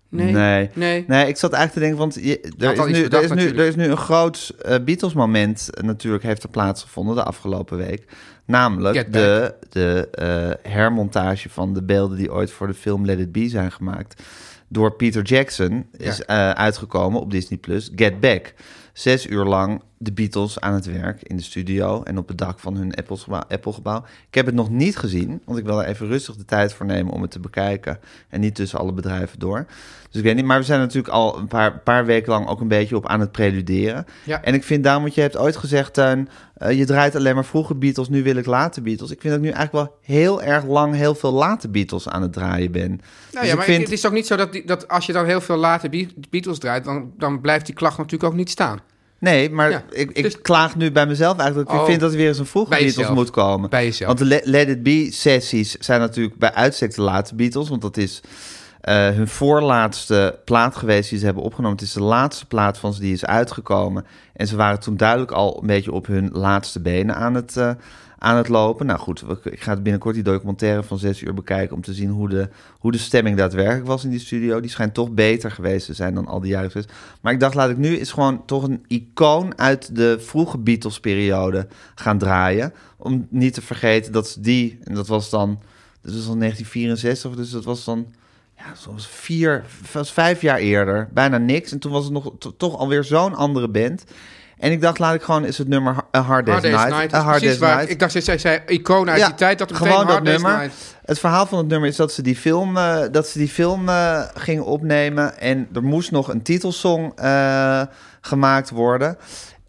Nee. Nou
Nee.
Nee.
Nee, ik zat eigenlijk te denken, want je, er,
had al
is
iets
nu,
bedacht
er, is nu,
natuurlijk.
er is nu een groot eh, Beatles-moment eh, natuurlijk heeft er plaatsgevonden de afgelopen week. Namelijk
Get
de, de eh, hermontage van de beelden die ooit voor de film Let It Be zijn gemaakt. Door Peter Jackson is eh, uitgekomen op Disney+, Plus Get Back. Zes uur lang de Beatles aan het werk in de studio en op het dak van hun Apples gebouw- Apple-gebouw. ik heb het nog niet gezien, want ik wil er even rustig de tijd voor nemen om het te bekijken. En niet tussen alle bedrijven door. Dus ik weet niet, maar we zijn natuurlijk al een paar, paar weken lang ook een beetje op aan het preluderen.
Ja.
En ik vind daarom, want je hebt ooit gezegd, Teun, eh, je draait alleen maar vroege Beatles, nu wil ik late Beatles. Ik vind dat ik nu eigenlijk wel heel erg lang heel veel late Beatles aan het draaien ben. Dus
Nou ja, maar het is ook niet zo dat, die, dat als je dan heel veel later Be- Beatles draait, dan, dan blijft die klacht natuurlijk ook niet staan.
Nee, maar
Ja,
ik, ik
dus-
klaag nu bij mezelf eigenlijk. Ik
Oh.
vind dat er weer eens een vroege
Bij
Beatles
jezelf.
moet komen.
Bij jezelf.
Want de Le- Let It Be-sessies zijn natuurlijk bij uitstek de laatste Beatles. Want dat is eh, hun voorlaatste plaat geweest die ze hebben opgenomen. Het is de laatste plaat van ze die is uitgekomen. En ze waren toen duidelijk al een beetje op hun laatste benen aan het, eh, aan het lopen. Nou goed, we- ik ga binnenkort die documentaire van zes uur bekijken... om te zien hoe de, hoe de stemming daadwerkelijk was in die studio. Die schijnt toch beter geweest te zijn dan al die jaren. geweest. Maar ik dacht, laat ik nu eens gewoon toch een icoon... uit de vroege Beatles-periode gaan draaien. Om niet te vergeten dat ze die... en dat was dan... Dat was dan 1964, dus dat was dan... Ja, soms vier, was vijf jaar eerder. Bijna niks. En toen was het nog to- toch alweer zo'n andere band. En ik dacht, laat ik gewoon eens het nummer Har- A Hard Day's,
Hard Day's Night.
Night.
is
A Hard Day's
precies waar
Night.
ik- Ik dacht, zij zei icoon uit die tijd. Dat er meteen
gewoon
Hard Day's
nummer.
Night.
Het verhaal van het nummer is dat ze die film, eh, dat ze die film eh, ging opnemen. En er moest nog een titelsong eh, gemaakt worden.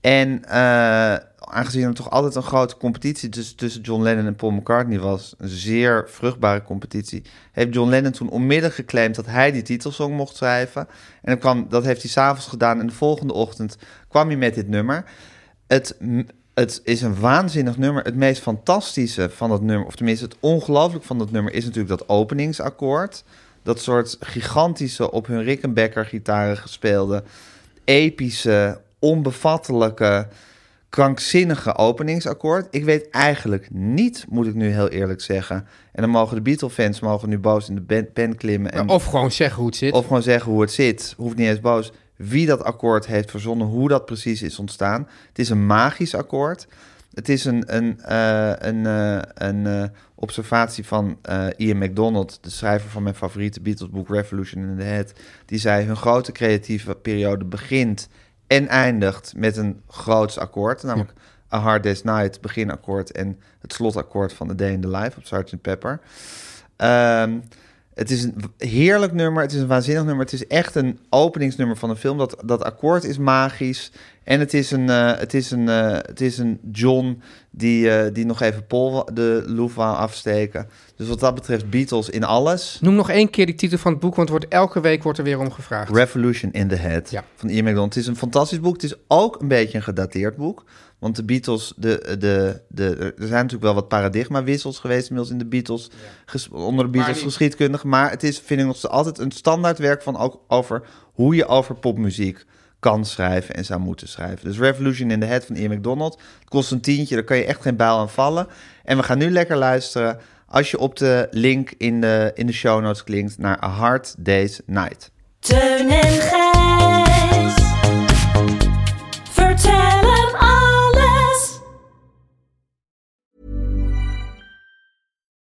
En eh, aangezien er toch altijd een grote competitie tussen, tussen John Lennon en Paul McCartney was, een zeer vruchtbare competitie, heeft John Lennon toen onmiddellijk geclaimd dat hij die titelsong mocht schrijven. En dan kwam, dat heeft hij s'avonds gedaan en de volgende ochtend kwam hij met dit nummer. Het, m- het is een waanzinnig nummer. Het meest fantastische van dat nummer, of tenminste het ongelooflijk van dat nummer, is natuurlijk dat openingsakkoord. Dat soort gigantische, op hun Rickenbacker gitaren gespeelde, epische, onbevattelijke, krankzinnige openingsakkoord. Ik weet eigenlijk niet, moet ik nu heel eerlijk zeggen. En dan mogen de Beatle-fans mogen nu boos in de ben- pen klimmen. En
Of gewoon zeggen hoe het zit.
of gewoon zeggen hoe het zit. Hoeft niet eens boos. Wie dat akkoord heeft verzonnen, hoe dat precies is ontstaan. Het is een magisch akkoord. Het is een, een, eh, een, eh, een eh, observatie van eh, Ian MacDonald, de schrijver van mijn favoriete Beatles-boek Revolution in the Head. Die zei: Hun grote creatieve periode begint en eindigt met een groots akkoord. Namelijk A Hard Day's Night, beginakkoord en het slotakkoord van The Day in the Life op Sgt. Pepper. Ehm, het is een w- heerlijk nummer. Het is een waanzinnig nummer. Het is echt een openingsnummer van een film. Dat, dat akkoord is magisch. En het is een, eh, het is een, eh, het is een John die, eh, die nog even Paul wa- de loef wou afsteken. Dus wat dat betreft Beatles in alles.
Noem nog één keer die titel van het boek, want wordt, elke week wordt er weer om gevraagd.
Revolution in the Head
Ja.
van Ian McDonald. Het is een fantastisch boek. Het is ook een beetje een gedateerd boek. Want de Beatles, de, de, de, er zijn natuurlijk wel wat paradigmawissels geweest inmiddels in de Beatles, ges- onder de Beatles
die-
geschiedkundig. Maar het is, vind ik nog steeds altijd een standaardwerk van ook over hoe je over popmuziek kan schrijven en zou moeten schrijven. Dus Revolution in the Head van Ian McDonald. Het kost een tientje, daar kan je echt geen bijl aan vallen. En we gaan nu lekker luisteren als je op de link in de, in de show notes klinkt naar A Hard Day's Night.
Teun en Gijs. Vertel hem alles.